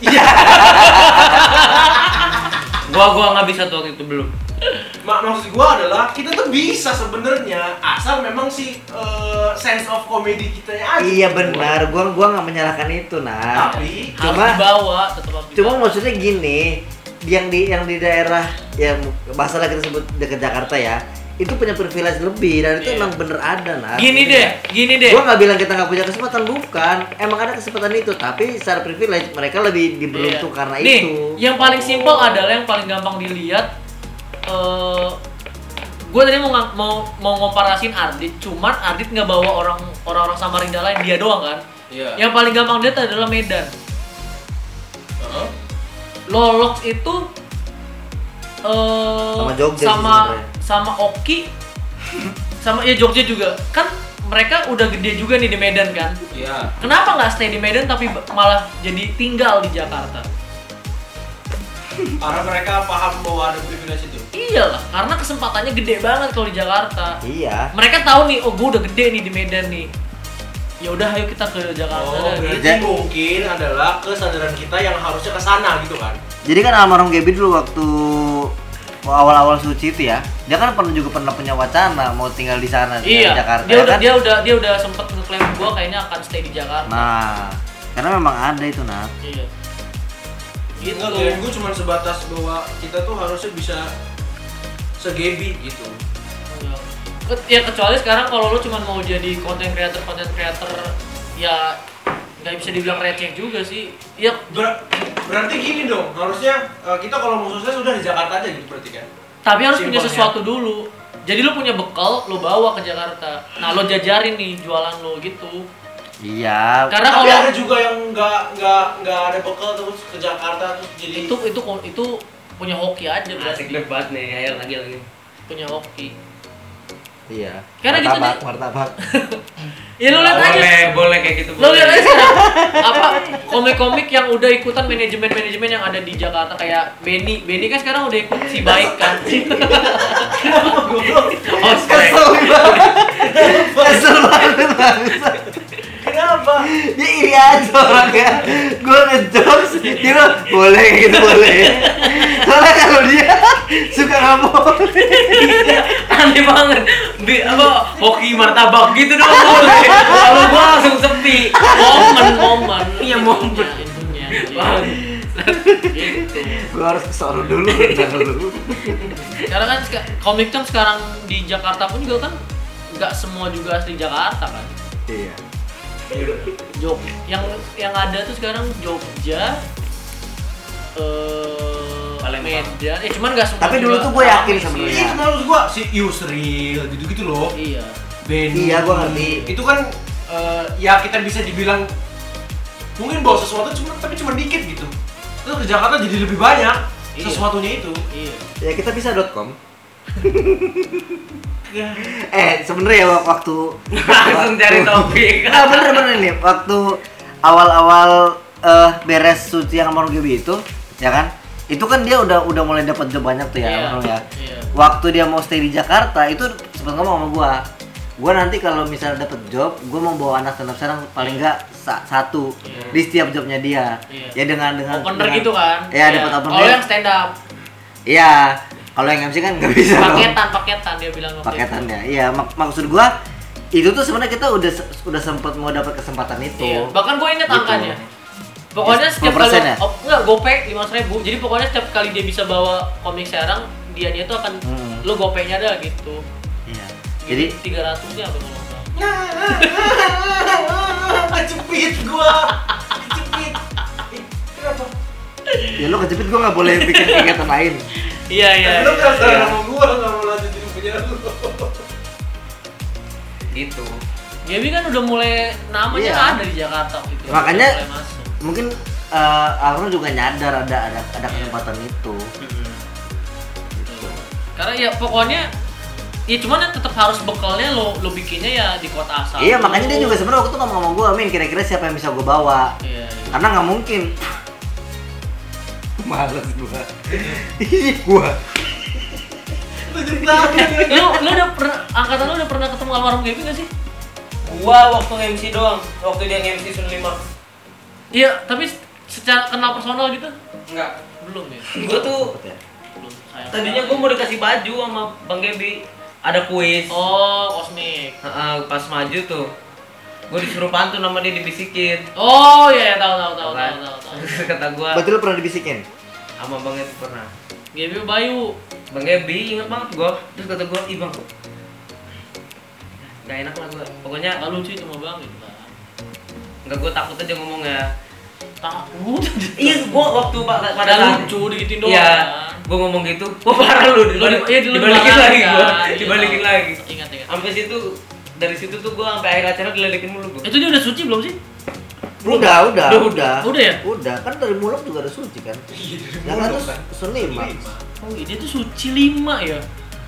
Speaker 5: Iya.
Speaker 3: Gua gua nggak bisa tuh waktu itu belum.
Speaker 4: mak- maksud gua adalah kita tuh bisa sebenarnya asal memang si eh, sense of comedy kita aja.
Speaker 5: Iya benar, gua gua nggak menyalahkan itu, Nat.
Speaker 4: Tapi
Speaker 2: harus
Speaker 5: Cuma-
Speaker 2: dibawa tetap harus
Speaker 5: Cuma
Speaker 2: dibawa.
Speaker 5: maksudnya gini, yang di yang di daerah ya, yang masalah kita sebut dekat Jakarta ya, itu punya privilege lebih dan itu
Speaker 2: Iya.
Speaker 5: emang bener ada nah.
Speaker 2: gini deh gini deh
Speaker 5: Gua nggak bilang kita nggak punya kesempatan bukan, emang ada kesempatan itu, tapi secara privilege mereka lebih diberuntung
Speaker 2: Iya.
Speaker 5: karena
Speaker 2: Nih,
Speaker 5: itu.
Speaker 2: yang paling simpel adalah yang paling gampang dilihat. eh gue tadi mau ngang- mau mau ngomparasiin Ardit, cuman Ardit nggak bawa orang orang orang Samarinda lain dia doang kan.
Speaker 4: Iya.
Speaker 2: Yang paling gampang dilihat adalah Medan.
Speaker 4: Heeh.
Speaker 2: Lolox itu eh
Speaker 5: Sama Jogja sih
Speaker 2: sama,
Speaker 5: sebenarnya.
Speaker 2: sama Oki, sama ya Jogja juga kan mereka udah gede juga nih di Medan kan.
Speaker 4: Iya.
Speaker 2: Kenapa nggak stay di Medan tapi malah jadi tinggal di Jakarta?
Speaker 4: Karena mereka paham bahwa ada privilege itu.
Speaker 2: Iyalah, karena kesempatannya gede banget kalau di Jakarta.
Speaker 5: Iya.
Speaker 2: Mereka tahu nih, oh gue udah gede nih di Medan nih. Ya udah, ayo kita ke Jakarta.
Speaker 4: Oh,
Speaker 2: dah, gitu.
Speaker 4: berarti mungkin adalah kesadaran kita yang harusnya ke sana gitu kan.
Speaker 5: Jadi kan almarhum Gaby dulu waktu awal-awal suci itu ya, dia kan pernah juga pernah punya wacana mau tinggal di sana di
Speaker 2: Iya.
Speaker 5: Jakarta.
Speaker 2: dia
Speaker 5: ya
Speaker 2: udah
Speaker 5: kan?
Speaker 2: dia udah dia udah sempet ngeklaim gue kayaknya akan stay di Jakarta.
Speaker 5: Nah, karena memang ada itu nah.
Speaker 2: Iya. Gitu.
Speaker 4: Enggak, kirain gue cuma sebatas bahwa kita tuh harusnya bisa segebi gitu.
Speaker 2: Enggak. Ke- Ya kecuali sekarang kalau lo cuma mau jadi content creator content creator ya nggak bisa dibilang receh juga sih. Ya
Speaker 4: Ber- berarti gini dong, harusnya eh, kita kalau mau sukses udah di Jakarta aja gitu berarti kan.
Speaker 2: Tapi harus punya
Speaker 4: Simpelnya.
Speaker 2: sesuatu dulu. Jadi lu punya bekal, lu bawa ke Jakarta. Nah, lu jajarin nih jualan lu gitu.
Speaker 5: Iya.
Speaker 2: Karena
Speaker 4: tapi
Speaker 2: kalau
Speaker 4: ada juga yang nggak nggak nggak ada bekal terus ke Jakarta terus jadi
Speaker 2: itu
Speaker 5: kan-
Speaker 2: itu itu punya hoki aja berarti.
Speaker 3: Asik debat nih, ayo lagi lagi.
Speaker 2: Punya hoki.
Speaker 5: Iya.
Speaker 2: Karena gitu
Speaker 5: martabak,
Speaker 2: dia-
Speaker 5: martabak.
Speaker 2: Ya lu lihat aja.
Speaker 3: boleh, boleh kayak gitu.
Speaker 2: Lo
Speaker 3: boleh.
Speaker 2: lihat aja sekarang, apa komik-komik yang udah ikutan manajemen-manajemen yang ada di Jakarta kayak Benny. Benny kan sekarang udah ikut si baik kan.
Speaker 4: goblok
Speaker 3: Ospek.
Speaker 5: Kesel banget. Kesel banget bangsa.
Speaker 4: kenapa
Speaker 2: Iya.
Speaker 5: Dia iri aja orangnya. Gue ngejokes, dia bilang, boleh kayak gitu boleh. Soalnya kalau dia suka nggak boleh.
Speaker 3: Aneh banget. Bi, apa hoki martabak gitu dong boleh. Kalau gua langsung sepi.
Speaker 2: Momen-momen.
Speaker 3: Iya, momen.
Speaker 2: Intinya,
Speaker 3: Bang.
Speaker 2: intinya. Gitu.
Speaker 5: Gue harus kesel dulu, bentar dulu.
Speaker 2: Karena kan seka- komik kan sekarang di Jakarta pun juga kan nggak semua juga asli Jakarta kan.
Speaker 5: Iya.
Speaker 2: Jog yang yang ada tuh sekarang Jogja eh
Speaker 3: Palembang.
Speaker 2: Medan. Eh cuman nggak semua.
Speaker 5: Tapi dulu
Speaker 2: juga
Speaker 5: tuh gue yakin ya.
Speaker 2: rame sih.
Speaker 5: sebenarnya.
Speaker 4: itu menurut Iya, gua si Yusril gitu-gitu loh
Speaker 2: Iya.
Speaker 4: Benny
Speaker 5: Iya, gua ngerti.
Speaker 4: itu kan eh, ya kita bisa dibilang mungkin bawa sesuatu cuma tapi cuma dikit gitu terus ke Jakarta jadi lebih banyak
Speaker 2: Iya.
Speaker 4: sesuatunya itu
Speaker 2: Iya.
Speaker 5: Ya kita bisa.com.
Speaker 2: Iya.
Speaker 5: Eh sebenarnya ya waktu
Speaker 3: Langsung cari topik.
Speaker 5: Nah bener-bener nih waktu awal-awal eh, beres suci yang sama Rugi itu ya kan itu kan dia udah udah mulai dapat job banyak tuh ya
Speaker 2: Iya,
Speaker 5: Bang Rul ya.
Speaker 2: iya.
Speaker 5: Waktu dia mau stay di Jakarta itu sempat ngomong sama gua. Gua nanti kalau misalnya dapat job, gua mau bawa anak stand up sekarang paling enggak satu
Speaker 2: Iya.
Speaker 5: di setiap jobnya dia.
Speaker 2: Iya.
Speaker 5: Ya dengan dengan
Speaker 2: Opener
Speaker 5: dengan-
Speaker 2: gitu kan.
Speaker 5: Iya, dapat opener.
Speaker 2: Kalau yang stand up
Speaker 5: Iya. Kalau yang MC kan nggak bisa. dong.
Speaker 2: paketan paketan dia bilang waktu
Speaker 5: paketan
Speaker 2: itu.
Speaker 5: ya. Iya, mak- maksud gua itu tuh sebenarnya kita udah se- udah sempat mau dapat kesempatan itu.
Speaker 2: Iya. Bahkan gue inget
Speaker 5: Gitu.
Speaker 2: angkanya. Pokoknya setiap kali
Speaker 5: 10% ya?
Speaker 2: oh, enggak gope 500.000 Jadi pokoknya setiap kali dia bisa bawa komik Serang, dia dia tuh akan
Speaker 5: Mm.
Speaker 2: lo gopenya ada gitu.
Speaker 5: Iya. Jadi
Speaker 2: 300 nya apa kalau nggak salah.
Speaker 4: kejepit gua kejepit Ih, kenapa
Speaker 5: ya lu kejepit gua nggak boleh bikin kegiatan lain.
Speaker 2: Iya iya.
Speaker 4: lu nggak
Speaker 5: iya.
Speaker 4: sama gua nggak mau lanjutin punya lu
Speaker 3: Gitu.
Speaker 2: Gaby kan udah mulai namanya kan
Speaker 5: Iya.
Speaker 2: ada di Jakarta waktu itu.
Speaker 5: Ya, makanya
Speaker 2: Udah mulai masuk.
Speaker 5: Mungkin eh Arno juga nyadar ada ada ada kesempatan itu.
Speaker 2: Gitu. Karena ya pokoknya ya cuman tetap harus bekalnya lo lo bikinnya ya di kota asal.
Speaker 5: Iya,
Speaker 2: lo.
Speaker 5: makanya dia juga sebenarnya waktu itu ngomong sama gua, Min, kira-kira siapa yang bisa gua bawa?
Speaker 2: Iya. iya.
Speaker 5: Karena nggak mungkin. Males gua. Ih, gua.
Speaker 4: lu jadi takut
Speaker 2: lu lu udah pernah angkatan lu udah pernah ketemu almarhum Gaby gak sih?
Speaker 3: Gua waktu MC doang, waktu dia MC Sun 5.
Speaker 2: Iya, tapi secara kenal personal gitu
Speaker 3: Enggak.
Speaker 2: belum ya.
Speaker 3: Gua tuh
Speaker 2: Belum. Sayang
Speaker 3: tadinya gua
Speaker 2: sekali.
Speaker 3: mau dikasih baju sama Bang Gebi. Ada kuis.
Speaker 2: Oh, kosmik.
Speaker 3: Heeh, pas maju tuh. Gua disuruh pantun sama dia dibisikin. Kan?
Speaker 2: Oh iya, iya, tahu tahu tahu tahu tahu tahu.
Speaker 3: Terus kata gua
Speaker 5: Berarti lu pernah dibisikin?
Speaker 3: sama Bang Gebi pernah.
Speaker 2: Gaby Bayu.
Speaker 3: Bang Gebi inget banget gua. Terus kata gua, "Ih, Bang. Gak enak lah gua. Pokoknya
Speaker 2: Enggak lucu itu mah Bang gitu kan.
Speaker 3: enggak gua takut aja ngomongnya.
Speaker 2: Takut.
Speaker 3: Iya, gua waktu pa- pada
Speaker 2: Padahal
Speaker 3: saat-
Speaker 2: lucu dikitin doang.
Speaker 3: Iya,
Speaker 2: kan.
Speaker 3: gua ngomong gitu, wah parah lu,
Speaker 2: Lu di,
Speaker 3: dibalik-
Speaker 2: iya, lu
Speaker 3: dibalikin
Speaker 2: dilarang,
Speaker 3: lagi gua,
Speaker 2: kan. Iya,
Speaker 3: dibalikin
Speaker 2: tahu.
Speaker 3: lagi.
Speaker 2: Ingat ingat.
Speaker 3: Sampai situ, dari situ tuh gua sampai akhir acara diledekin mulu gua.
Speaker 2: Itu dia udah suci belum sih?
Speaker 5: Udah, udah,
Speaker 3: Udah,
Speaker 5: udah.
Speaker 2: udah ya?
Speaker 5: Udah, kan dari muluk juga ada suci kan? Ya kan terus
Speaker 4: lima
Speaker 5: senima.
Speaker 2: Oh, iya, dia tuh suci 5 ya.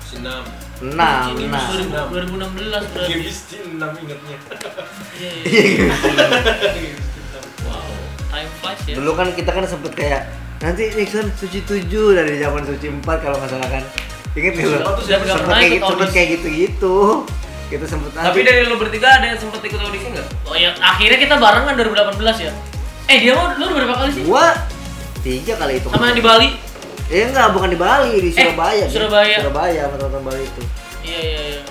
Speaker 4: senam
Speaker 5: Enam,
Speaker 2: Suci lima,
Speaker 3: Ah,
Speaker 5: enam.
Speaker 2: 2016 berarti.
Speaker 3: Iya.
Speaker 4: games di enam ingetnya
Speaker 2: Iya, iya.
Speaker 4: Games
Speaker 2: Wow, time flies ya.
Speaker 5: Dulu kan kita kan sempet kayak nanti Nixon suci 7 dari zaman suci 4 kalau nggak salah kan. Ingat nggak lu?
Speaker 2: Siapa tuh siapa nggak
Speaker 5: Sempet kayak
Speaker 2: pernah ikut
Speaker 5: gitu, sempet
Speaker 2: audisi?
Speaker 5: kayak gitu-gitu. Kita sempet
Speaker 3: Tapi
Speaker 5: nanti-
Speaker 3: dari lu bertiga ada yang sempet ikut audisi nggak?
Speaker 2: Oh ya, akhirnya kita barengan 2018 ya. Eh, dia mau lu berapa kali sih?
Speaker 5: gua tiga kali itu.
Speaker 2: Sama yang di Bali.
Speaker 5: Eh enggak, bukan di Bali, di Surabaya. Di
Speaker 2: Surabaya.
Speaker 5: Surabaya sama teman-teman Bali itu.
Speaker 2: Iya, iya, iya.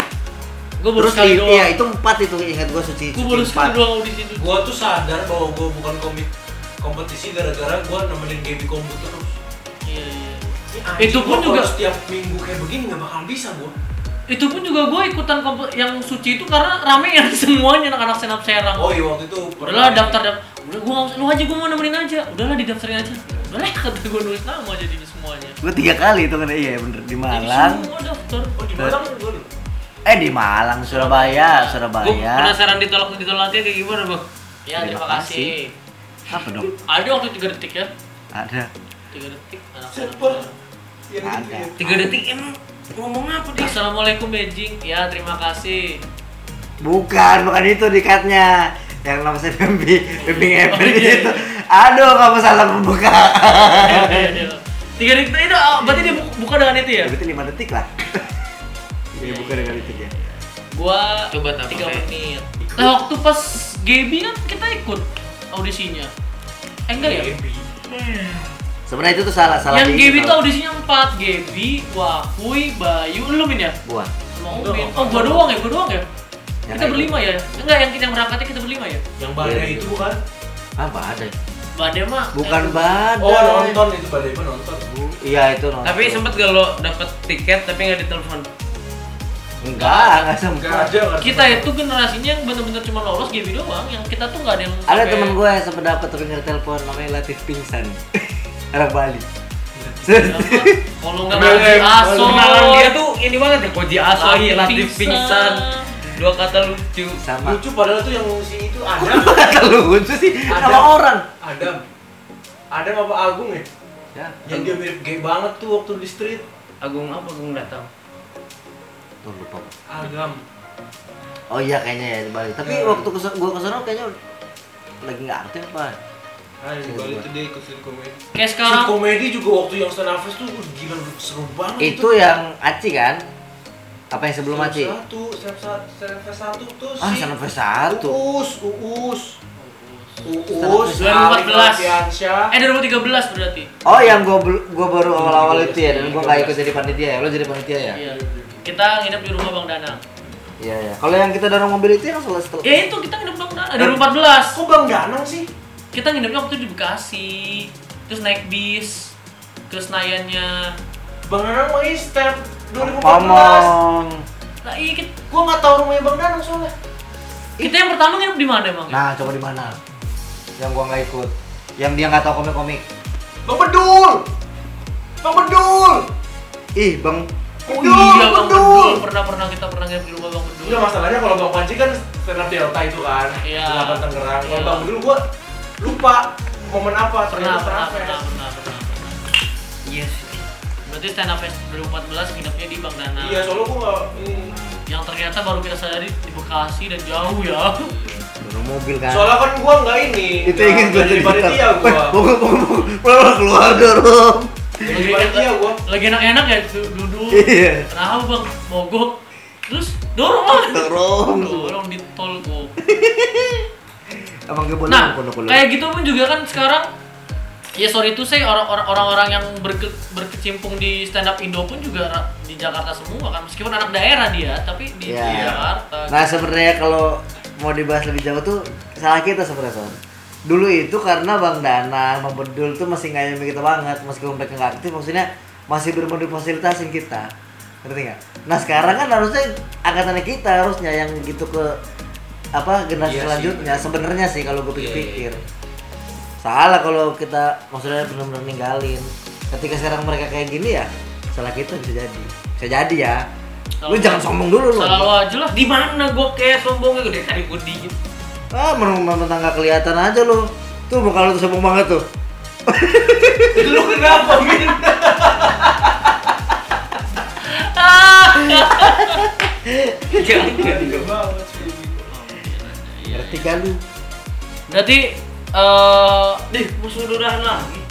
Speaker 2: Gue baru
Speaker 5: Terus
Speaker 2: sekali
Speaker 5: i-
Speaker 2: doang.
Speaker 5: iya itu empat itu ingat gua suci
Speaker 2: Gue
Speaker 5: suci
Speaker 2: baru sekali
Speaker 5: empat.
Speaker 2: doang audisi itu.
Speaker 4: gua tuh sadar bahwa gua bukan komik kompetisi gara-gara gua nemenin game di komputer terus
Speaker 2: Iya, iya.
Speaker 4: Ini anjing,
Speaker 2: Itu pun
Speaker 4: gua kalau
Speaker 2: juga-
Speaker 4: setiap minggu kayak begini nggak bakal bisa gua
Speaker 2: Itu pun juga gue ikutan kompe- yang suci itu karena ramean semuanya anak-anak senap serang.
Speaker 4: oh iya waktu itu
Speaker 2: Udahlah
Speaker 5: ya?
Speaker 2: daftar daftar. Udah gue usah, lu aja gue mau nemenin aja. Udahlah didaftarin aja. Udahlah kata gue nulis nama jadi semua. semuanya.
Speaker 5: gue tiga kali itu kan iya bener di Malang
Speaker 2: Semua daftar.
Speaker 4: Oh di Malang gue dulu.
Speaker 5: eh di Malang Surabaya
Speaker 3: Gue
Speaker 5: Surabaya
Speaker 3: penasaran ditolak ditolaknya kayak gimana bang?
Speaker 2: Ya terima
Speaker 5: Iya, Terima
Speaker 2: kasih.
Speaker 5: apa dong
Speaker 2: Ada waktu tiga detik ya.
Speaker 5: ada
Speaker 2: Tiga detik.
Speaker 4: Super.
Speaker 2: Anak-anak.
Speaker 4: Iya, gitu
Speaker 5: Ada.
Speaker 4: ya.
Speaker 3: Tiga detik emang ngomong apa dia?
Speaker 2: Assalamualaikum Beijing. Ya terima kasih.
Speaker 5: bukan bukan itu dikatnya yang nama saya Bambi
Speaker 2: Oh,
Speaker 5: Bimbing April
Speaker 2: iya.
Speaker 5: itu aduh kamu salah membuka
Speaker 2: Tiga detik itu oh, berarti dia bu- buka dengan itu ya?
Speaker 5: ya berarti lima detik lah
Speaker 2: Iya,
Speaker 5: ya buka dengan itu ya
Speaker 2: Gua
Speaker 3: Coba ya. tak
Speaker 2: tiga
Speaker 3: pakai.
Speaker 2: menit. Nah waktu pas GB kan kita ikut audisinya. Eh enggak ya?
Speaker 4: Iya,
Speaker 5: sebenarnya itu tuh salah Iya. salah
Speaker 2: Yang
Speaker 5: di-
Speaker 2: GB itu audisinya 4 GB, Wahui, Bayu, lu min ya?
Speaker 5: buat
Speaker 2: Sama
Speaker 4: Enggak,
Speaker 2: Umin.
Speaker 4: enggak.
Speaker 2: Oh, gua doang ya, gua doang ya.
Speaker 5: Yang
Speaker 2: Kita
Speaker 5: lain.
Speaker 2: berlima ya? Enggak, yang kita berangkatnya kita berlima ya?
Speaker 4: Yang badai itu bukan?
Speaker 5: apa ada
Speaker 2: Badai mah
Speaker 5: bukan
Speaker 2: eh,
Speaker 5: badai
Speaker 4: Oh nonton itu badai mah nonton.
Speaker 5: iya itu nonton
Speaker 3: Tapi sempet gak lo dapet tiket tapi nggak ditelepon?
Speaker 5: enggak enggak sempet
Speaker 4: Enggak ada kan?
Speaker 2: kita itu generasinya yang bener-bener cuma lolos GB doang, yang kita tuh nggak ada yang
Speaker 5: ada
Speaker 2: sampai-
Speaker 5: temen gue yang sempet dapet dengar telepon namanya Latif pingsan orang Bali Serius.
Speaker 2: Apa? Kalau nggak
Speaker 4: Kenalan-
Speaker 2: Koji Aso,
Speaker 3: Kenalan dia tuh ini banget ya Koji Aso,
Speaker 2: Latif
Speaker 3: iya, Latif
Speaker 2: pingsan.
Speaker 3: Oh. pingsan. Dua kata lucu.
Speaker 5: sama
Speaker 4: Lucu padahal tuh yang si itu Adam.
Speaker 5: kata lu lucu sih
Speaker 4: Ada.
Speaker 5: sama orang
Speaker 4: Adam. Adam apa Agung ya?
Speaker 5: ya
Speaker 4: Yang dia mirip gay banget tuh waktu di street.
Speaker 3: Agung apa Agung datang?
Speaker 5: tuh lupa gua.
Speaker 4: Agam.
Speaker 5: oh iya kayaknya ya di Bali tapi
Speaker 4: Ya.
Speaker 5: waktu kesana, gue kesana kayaknya lagi nggak aktif apa
Speaker 4: Ah, di Bali tuh dia ikut street komedi.
Speaker 2: Kayak
Speaker 4: Street
Speaker 2: sekarang
Speaker 4: komedi juga waktu yang stand up fest tuh uh, gila seru banget
Speaker 5: itu yang aci kan apa yang sebelum
Speaker 4: Stand Up
Speaker 5: aci
Speaker 4: Satu, stand up sa- stand up fest satu tuh
Speaker 5: ah
Speaker 4: si
Speaker 5: sana satu
Speaker 4: Uus, Uus.
Speaker 5: Stand Up
Speaker 4: Uus,
Speaker 5: Fest.
Speaker 4: Arif
Speaker 2: 2014.
Speaker 4: Alfiansyah.
Speaker 2: eh 2013 berarti.
Speaker 5: oh yang gue gue baru
Speaker 4: Iya,
Speaker 5: awal-awal itu ya dan gue
Speaker 4: 13.
Speaker 5: nggak ikut jadi panitia ya lo jadi panitia ya
Speaker 2: Iya. Kita nginep di rumah Bang Danang.
Speaker 5: iya iya kalau yang kita dorong mobil itu yang setelah
Speaker 4: Iya,
Speaker 5: setelah
Speaker 2: Ya itu kita nginep Bang Danang 2014.
Speaker 4: Kok Bang Danang sih?
Speaker 2: Kita nginepnya waktu di Bekasi. Terus naik bis ke Senayannya.
Speaker 4: Bang Danang main step 2014.
Speaker 5: ngomong
Speaker 2: Nah, iya kita,
Speaker 4: Gua nggak tahu rumahnya Bang Danang soalnya.
Speaker 2: kita yang pertama nginep di mana emang?
Speaker 5: nah coba di mana yang gue nggak ikut yang dia nggak tahu komik-komik
Speaker 4: Bang Bedul. Bang Bedul.
Speaker 5: ih bang
Speaker 2: Oh
Speaker 4: Bedul,
Speaker 2: iya Bang
Speaker 4: Bedul. Iya,
Speaker 2: Bedul, pernah pernah kita pernah nginep di rumah Bang Bedul.
Speaker 4: Enggak masalahnya kalau Bang Panji kan stand up Delta itu kan.
Speaker 2: Iya.
Speaker 4: Selatan Tangerang. Kalau
Speaker 2: Iya.
Speaker 4: Bang Bedul gua lupa momen apa
Speaker 2: Pernah,
Speaker 4: ternyata stand up
Speaker 2: pernah,
Speaker 4: fest.
Speaker 2: pernah, pernah, pernah.
Speaker 3: Iya sih.
Speaker 2: Berarti stand up fest 2014 nginepnya di Bang Danang.
Speaker 4: Iya, soalnya gua nggak- hmm.
Speaker 2: Yang ternyata baru kita sadari di Bekasi dan jauh ya.
Speaker 5: dorong mobil kan
Speaker 4: Soalnya kan gua nggak
Speaker 5: itu
Speaker 4: ini. nggak-
Speaker 5: ingin
Speaker 4: nggak
Speaker 5: gue
Speaker 4: jadi
Speaker 5: jadi Eh,
Speaker 4: panitia gua.
Speaker 5: pokok keluar dorong
Speaker 4: Nggak Jadi panitia gua.
Speaker 2: Lagi enak-enak ya du- duduk.
Speaker 5: iya
Speaker 2: Kenapa bang? Mogok. Terus dorong lah.
Speaker 5: dorong
Speaker 2: Dorong di tol kok.
Speaker 5: emang gue boleh
Speaker 2: Nah,
Speaker 5: kono kono
Speaker 2: kayak gitu pun juga kan sekarang Ya sorry itu saya orang-orang orang-orang yang berke- berkecimpung di stand up Indo pun juga ra- di Jakarta semua kan meskipun anak daerah dia tapi di, di
Speaker 5: Iya.
Speaker 2: Jakarta.
Speaker 5: nah sebenarnya kalau mau dibahas lebih jauh tuh salah kita sebenarnya Son. dulu itu karena bang Dana bang Bedul tuh masih ngayamin kita banget meskipun mereka nggak aktif maksudnya masih bermodul fasilitasin kita ngerti nggak nah sekarang kan harusnya angkatannya kita harusnya yang gitu ke apa generasi
Speaker 4: Iya sih,
Speaker 5: selanjutnya sebenarnya sih kalau gue
Speaker 4: Iya, iya, iya.
Speaker 5: pikir-pikir salah kalau kita maksudnya benar-benar ninggalin ketika sekarang mereka kayak gini ya salah kita bisa jadi bisa jadi ya lu
Speaker 2: Salah-
Speaker 5: jangan sombong dulu lu
Speaker 2: Salah lu aja lah.
Speaker 3: Di mana gue kayak gitu? sombongnya gede kali gue dingin.
Speaker 5: ah menurut tetangga kelihatan aja lu tuh muka lu tuh sombong banget tuh
Speaker 4: Lu kenapa, Min?
Speaker 2: Iya,
Speaker 3: Jangan. Iya.
Speaker 5: ngerti kan lu
Speaker 2: Berarti eh
Speaker 3: Dih, musuh durahan lagi.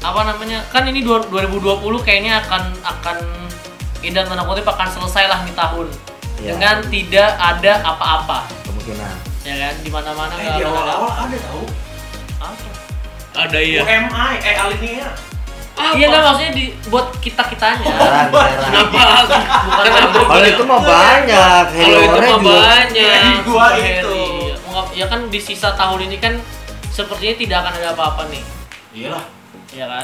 Speaker 2: apa namanya kan ini dua- 2020 kayaknya akan akan idan tanda kutip akan selesai lah nih tahun
Speaker 5: Ya.
Speaker 2: dengan tidak ada apa-apa
Speaker 5: kemungkinan
Speaker 2: ya kan di mana mana
Speaker 4: Eh, di awal-awal ada tau.
Speaker 3: Ada iya.
Speaker 4: UMI, eh Alinea.
Speaker 2: iya nggak maksudnya di buat kita kitanya
Speaker 5: jarang jarang
Speaker 3: Kenapa lagi? Oh,
Speaker 2: bukan
Speaker 3: Kenapa?
Speaker 5: kalau itu mah banyak
Speaker 3: Kalau itu
Speaker 5: Heliore
Speaker 3: mah
Speaker 5: juga
Speaker 3: banyak.
Speaker 4: Jadi gua
Speaker 2: Super Harry.
Speaker 4: itu.
Speaker 2: Ya, mau ngap- ya kan di sisa tahun ini kan sepertinya tidak akan ada apa-apa nih
Speaker 4: Iyalah.
Speaker 2: ya kan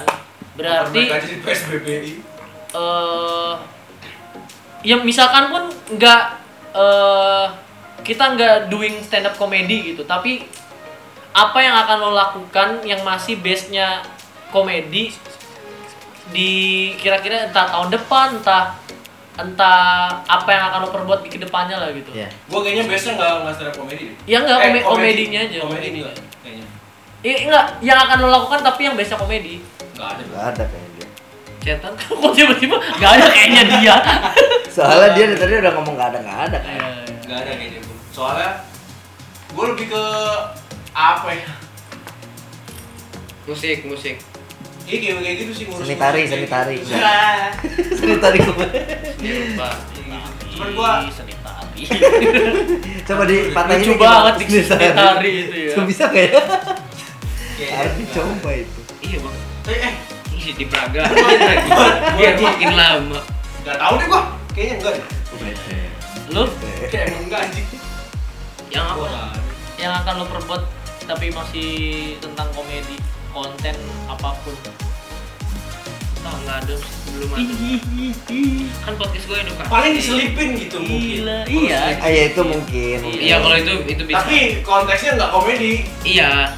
Speaker 2: berarti
Speaker 4: Mereka jadi PSBBI.
Speaker 2: eh ya misalkan pun nggak eh kita nggak doing stand up comedy gitu tapi apa yang akan lo lakukan yang masih base nya komedi di kira-kira entah tahun depan entah entah apa yang akan lo perbuat di kedepannya lah gitu
Speaker 5: Iya.
Speaker 4: Gue kayaknya biasanya nggak nggak stand up comedy deh.
Speaker 2: ya enggak
Speaker 4: Eh,
Speaker 2: komedi komedinya aja
Speaker 4: Komedi
Speaker 2: komedinya.
Speaker 4: enggak kayaknya.
Speaker 2: Iya enggak yang akan lo lakukan tapi yang biasa komedi
Speaker 4: Enggak ada.
Speaker 5: Gak ada kayaknya dia.
Speaker 2: Cetan kok tiba-tiba nggak ada kayaknya dia
Speaker 5: Soalnya dia dari tadi udah ngomong gak ada, gak ada kayaknya.
Speaker 2: Iya, iya.
Speaker 4: Enggak ada kayaknya gue. Soalnya gue lebih ke apa ya?
Speaker 3: musik musik
Speaker 4: Iya kayak kayak gitu sih ngurus.
Speaker 5: Seni tari,
Speaker 4: ngurus
Speaker 5: seni
Speaker 4: kayak
Speaker 5: tari.
Speaker 4: gitu. Wah.
Speaker 5: Seni tari gue.
Speaker 4: Iya. Cuman gua-
Speaker 2: seni tari.
Speaker 5: Coba dipatahin
Speaker 2: Lucu
Speaker 5: dikit,
Speaker 2: banget
Speaker 5: Bang.
Speaker 2: diksi seni tari itu ya.
Speaker 5: Kok bisa kayak?
Speaker 4: Kayak-
Speaker 5: Harus dicoba itu.
Speaker 3: iya bang Iya,
Speaker 4: Eh, eh,
Speaker 3: Ih, di Praga lagi biar makin lama
Speaker 4: nggak tahu deh gue. Kayaknya enggak deh.
Speaker 2: Lu
Speaker 4: Kayak emang enggak anjing.
Speaker 3: yang
Speaker 4: Gua
Speaker 3: apa
Speaker 4: nggak ada.
Speaker 2: yang akan lo perbuat tapi masih tentang komedi konten apapun. Nah,
Speaker 3: Entah, nggak ada sih, belum ada
Speaker 4: Iya.
Speaker 3: kan podcast gue edukasi
Speaker 4: Paling diselipin gitu mungkin.
Speaker 2: Gila, iya.
Speaker 5: Ah ya itu mungkin. mungkin.
Speaker 3: iya kalau itu itu bisa
Speaker 4: Tapi konteksnya nggak komedi.
Speaker 3: iya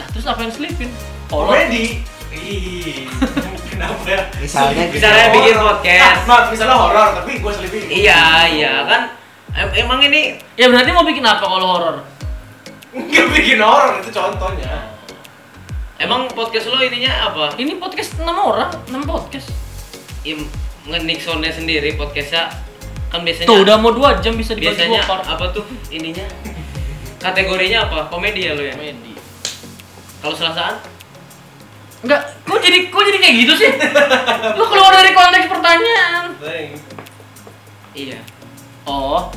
Speaker 2: Nah, terus apa yang selipin? Horor.
Speaker 4: komedi ih kenapa ya
Speaker 5: Misalnya gitu.
Speaker 3: Misalnya
Speaker 4: Horor.
Speaker 3: bikin podcast.
Speaker 4: nah, not, misalnya horor tapi gue selipin
Speaker 3: iya iya kan em- emang ini
Speaker 2: Ya berarti mau bikin apa kalau horor?
Speaker 4: nggak bikin horor itu contohnya
Speaker 3: emang podcast lo ininya apa
Speaker 2: Ini podcast 6 orang, 6 podcast.
Speaker 3: im nge-Nixonnya sendiri podcastnya kan biasanya
Speaker 2: Tuh udah mau 2 jam bisa dibagi
Speaker 3: biasanya
Speaker 2: dua part.
Speaker 3: apa tuh ininya kategorinya apa komedi ya lo ya
Speaker 2: Komedi.
Speaker 3: kalau selasaan
Speaker 2: Enggak, kok jadi kok jadi kayak gitu sih? Lu keluar dari konteks pertanyaan.
Speaker 4: Baik.
Speaker 3: iya
Speaker 2: Oh.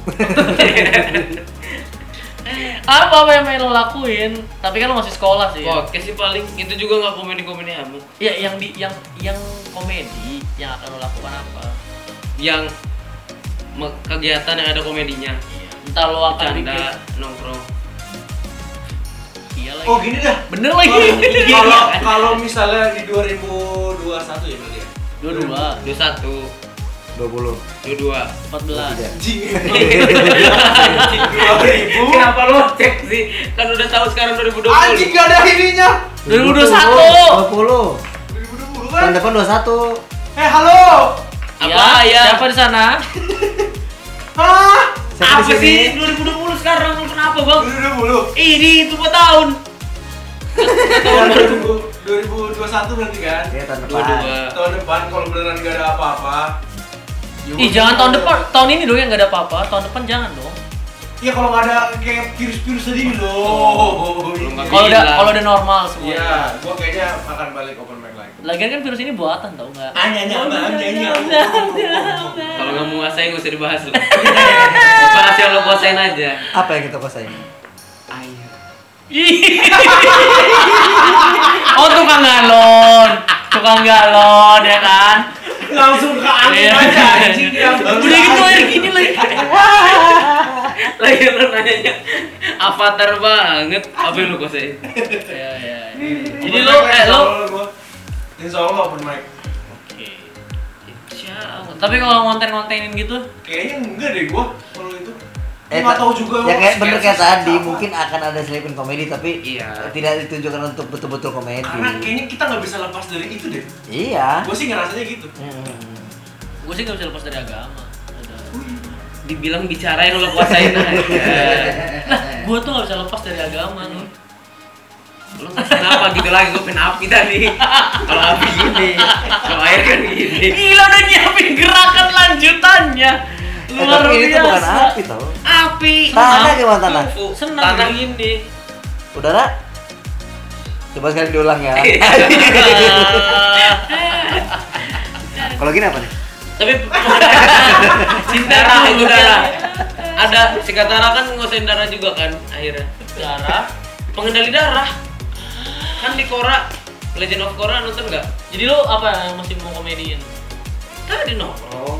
Speaker 2: apa apa yang main lo lakuin? Tapi kan lo masih sekolah sih. Ya?
Speaker 3: podcast sih paling itu juga nggak komedi komedi amat
Speaker 2: Ya, yang di yang yang komedi yang akan lo lakukan apa?
Speaker 3: yang me- kegiatan yang ada komedinya
Speaker 2: Iya. Entah lo akan bikin
Speaker 3: bercanda nongkrong
Speaker 2: iya lagi.
Speaker 4: oh gini dah
Speaker 2: Bener lagi.
Speaker 4: Kalau- kalau
Speaker 3: ya.
Speaker 4: kalau misalnya di 2021 ya berarti ya
Speaker 2: dua dua,
Speaker 3: dua satu
Speaker 5: 20.
Speaker 3: dua dua
Speaker 2: empat belas.
Speaker 5: Tidak.
Speaker 4: anjing anjing 2000
Speaker 3: kenapa lo cek sih kan udah tahu sekarang 2020
Speaker 4: anjing gak ada ininya
Speaker 2: 2021.
Speaker 5: 20.
Speaker 4: 2020 kan
Speaker 5: Tahun depan 21.
Speaker 4: eh halo
Speaker 3: apa ya,
Speaker 2: Siapa di sana?
Speaker 4: hah
Speaker 5: Siapa
Speaker 3: apa
Speaker 5: di sini?
Speaker 3: sih 2020 sekarang lu kenapa bang
Speaker 4: 2020
Speaker 3: ini itu tahun
Speaker 4: Ya, 2000 2021 berarti kan
Speaker 5: Ya tahun
Speaker 3: dua
Speaker 5: depan.
Speaker 3: dua
Speaker 4: tahun depan kalau beneran gak ada apa-apa ya
Speaker 2: Ih
Speaker 4: udah.
Speaker 2: jangan tahun depan, tahun ini dong yang nggak ada apa-apa. Tahun depan jangan dong.
Speaker 4: Iya kalau nggak ada kayak virus-virus tadi loh.
Speaker 2: Oh,
Speaker 3: belum nggak
Speaker 2: Kalau udah
Speaker 3: Gila.
Speaker 2: kalau udah normal semua.
Speaker 4: Iya, gua kayaknya akan balik open mic lagi.
Speaker 2: Lagian kan virus ini buatan tau nggak? Iya,
Speaker 4: Anyanya apa? Anyanya.
Speaker 3: kalau nggak mau nguasain nggak usah dibahas lo bahas yang lo kuasain aja
Speaker 5: Apa yang kita kuasain?
Speaker 3: ayo
Speaker 2: oh tukang galon, tukang galon ya kan?
Speaker 4: Langsung ke angin
Speaker 2: Iya.
Speaker 4: aja anjing yang
Speaker 2: Udah gitu air gini lagi.
Speaker 3: lagi lo nanyanya avatar banget apa yang lo kuasain
Speaker 2: Ya, ya, ya.
Speaker 4: Jadi lo eh lo Insya Allah open mic.
Speaker 2: Oke.
Speaker 3: Insya Allah.
Speaker 2: Tapi kalau konten-kontenin gitu,
Speaker 4: Kayaknya enggak deh gua kalau itu.
Speaker 5: Eh,
Speaker 4: Nggak
Speaker 5: ta-
Speaker 4: tahu juga.
Speaker 5: Ya
Speaker 4: gua
Speaker 5: kayak bener kayak
Speaker 4: skepsis
Speaker 5: tadi,
Speaker 4: apa.
Speaker 5: mungkin akan ada selipin komedi tapi
Speaker 3: Iya.
Speaker 5: tidak ditunjukkan untuk betul-betul komedi.
Speaker 4: Karena kayaknya kita nggak bisa lepas dari itu deh.
Speaker 5: Iya.
Speaker 4: Gua sih ngerasanya gitu.
Speaker 5: Mm.
Speaker 2: gue sih nggak bisa lepas dari agama. Udah.
Speaker 3: dibilang bicara yang lo kuasain
Speaker 5: Eh,
Speaker 3: aja
Speaker 2: Lah, gue tuh nggak bisa lepas dari agama Nun.
Speaker 3: lo kenapa gitu lagi gue pengen api tadi kalau api gini kalau air kan gini
Speaker 2: Gila udah nyiapin gerakan lanjutannya.
Speaker 5: Eh,
Speaker 2: Luar
Speaker 5: tapi ini tuh bukan
Speaker 2: biasa.
Speaker 5: api tau.
Speaker 3: api
Speaker 5: Tanah gimana tanah?
Speaker 3: Kungfu.
Speaker 2: Senang.
Speaker 3: tanah gini
Speaker 5: Udara? Coba sekali diulang ya.
Speaker 3: Iya.
Speaker 5: Kalau gini apa nih?
Speaker 3: tapi cinta darah itu darah ada sikat darah kan nguasain darah juga kan akhirnya
Speaker 2: Darah.
Speaker 3: pengendali darah kan di Kora Legend of Korra nonton nggak
Speaker 2: Jadi lo apa yang masih mau komediin?
Speaker 3: tadi nongkrong
Speaker 4: Oh.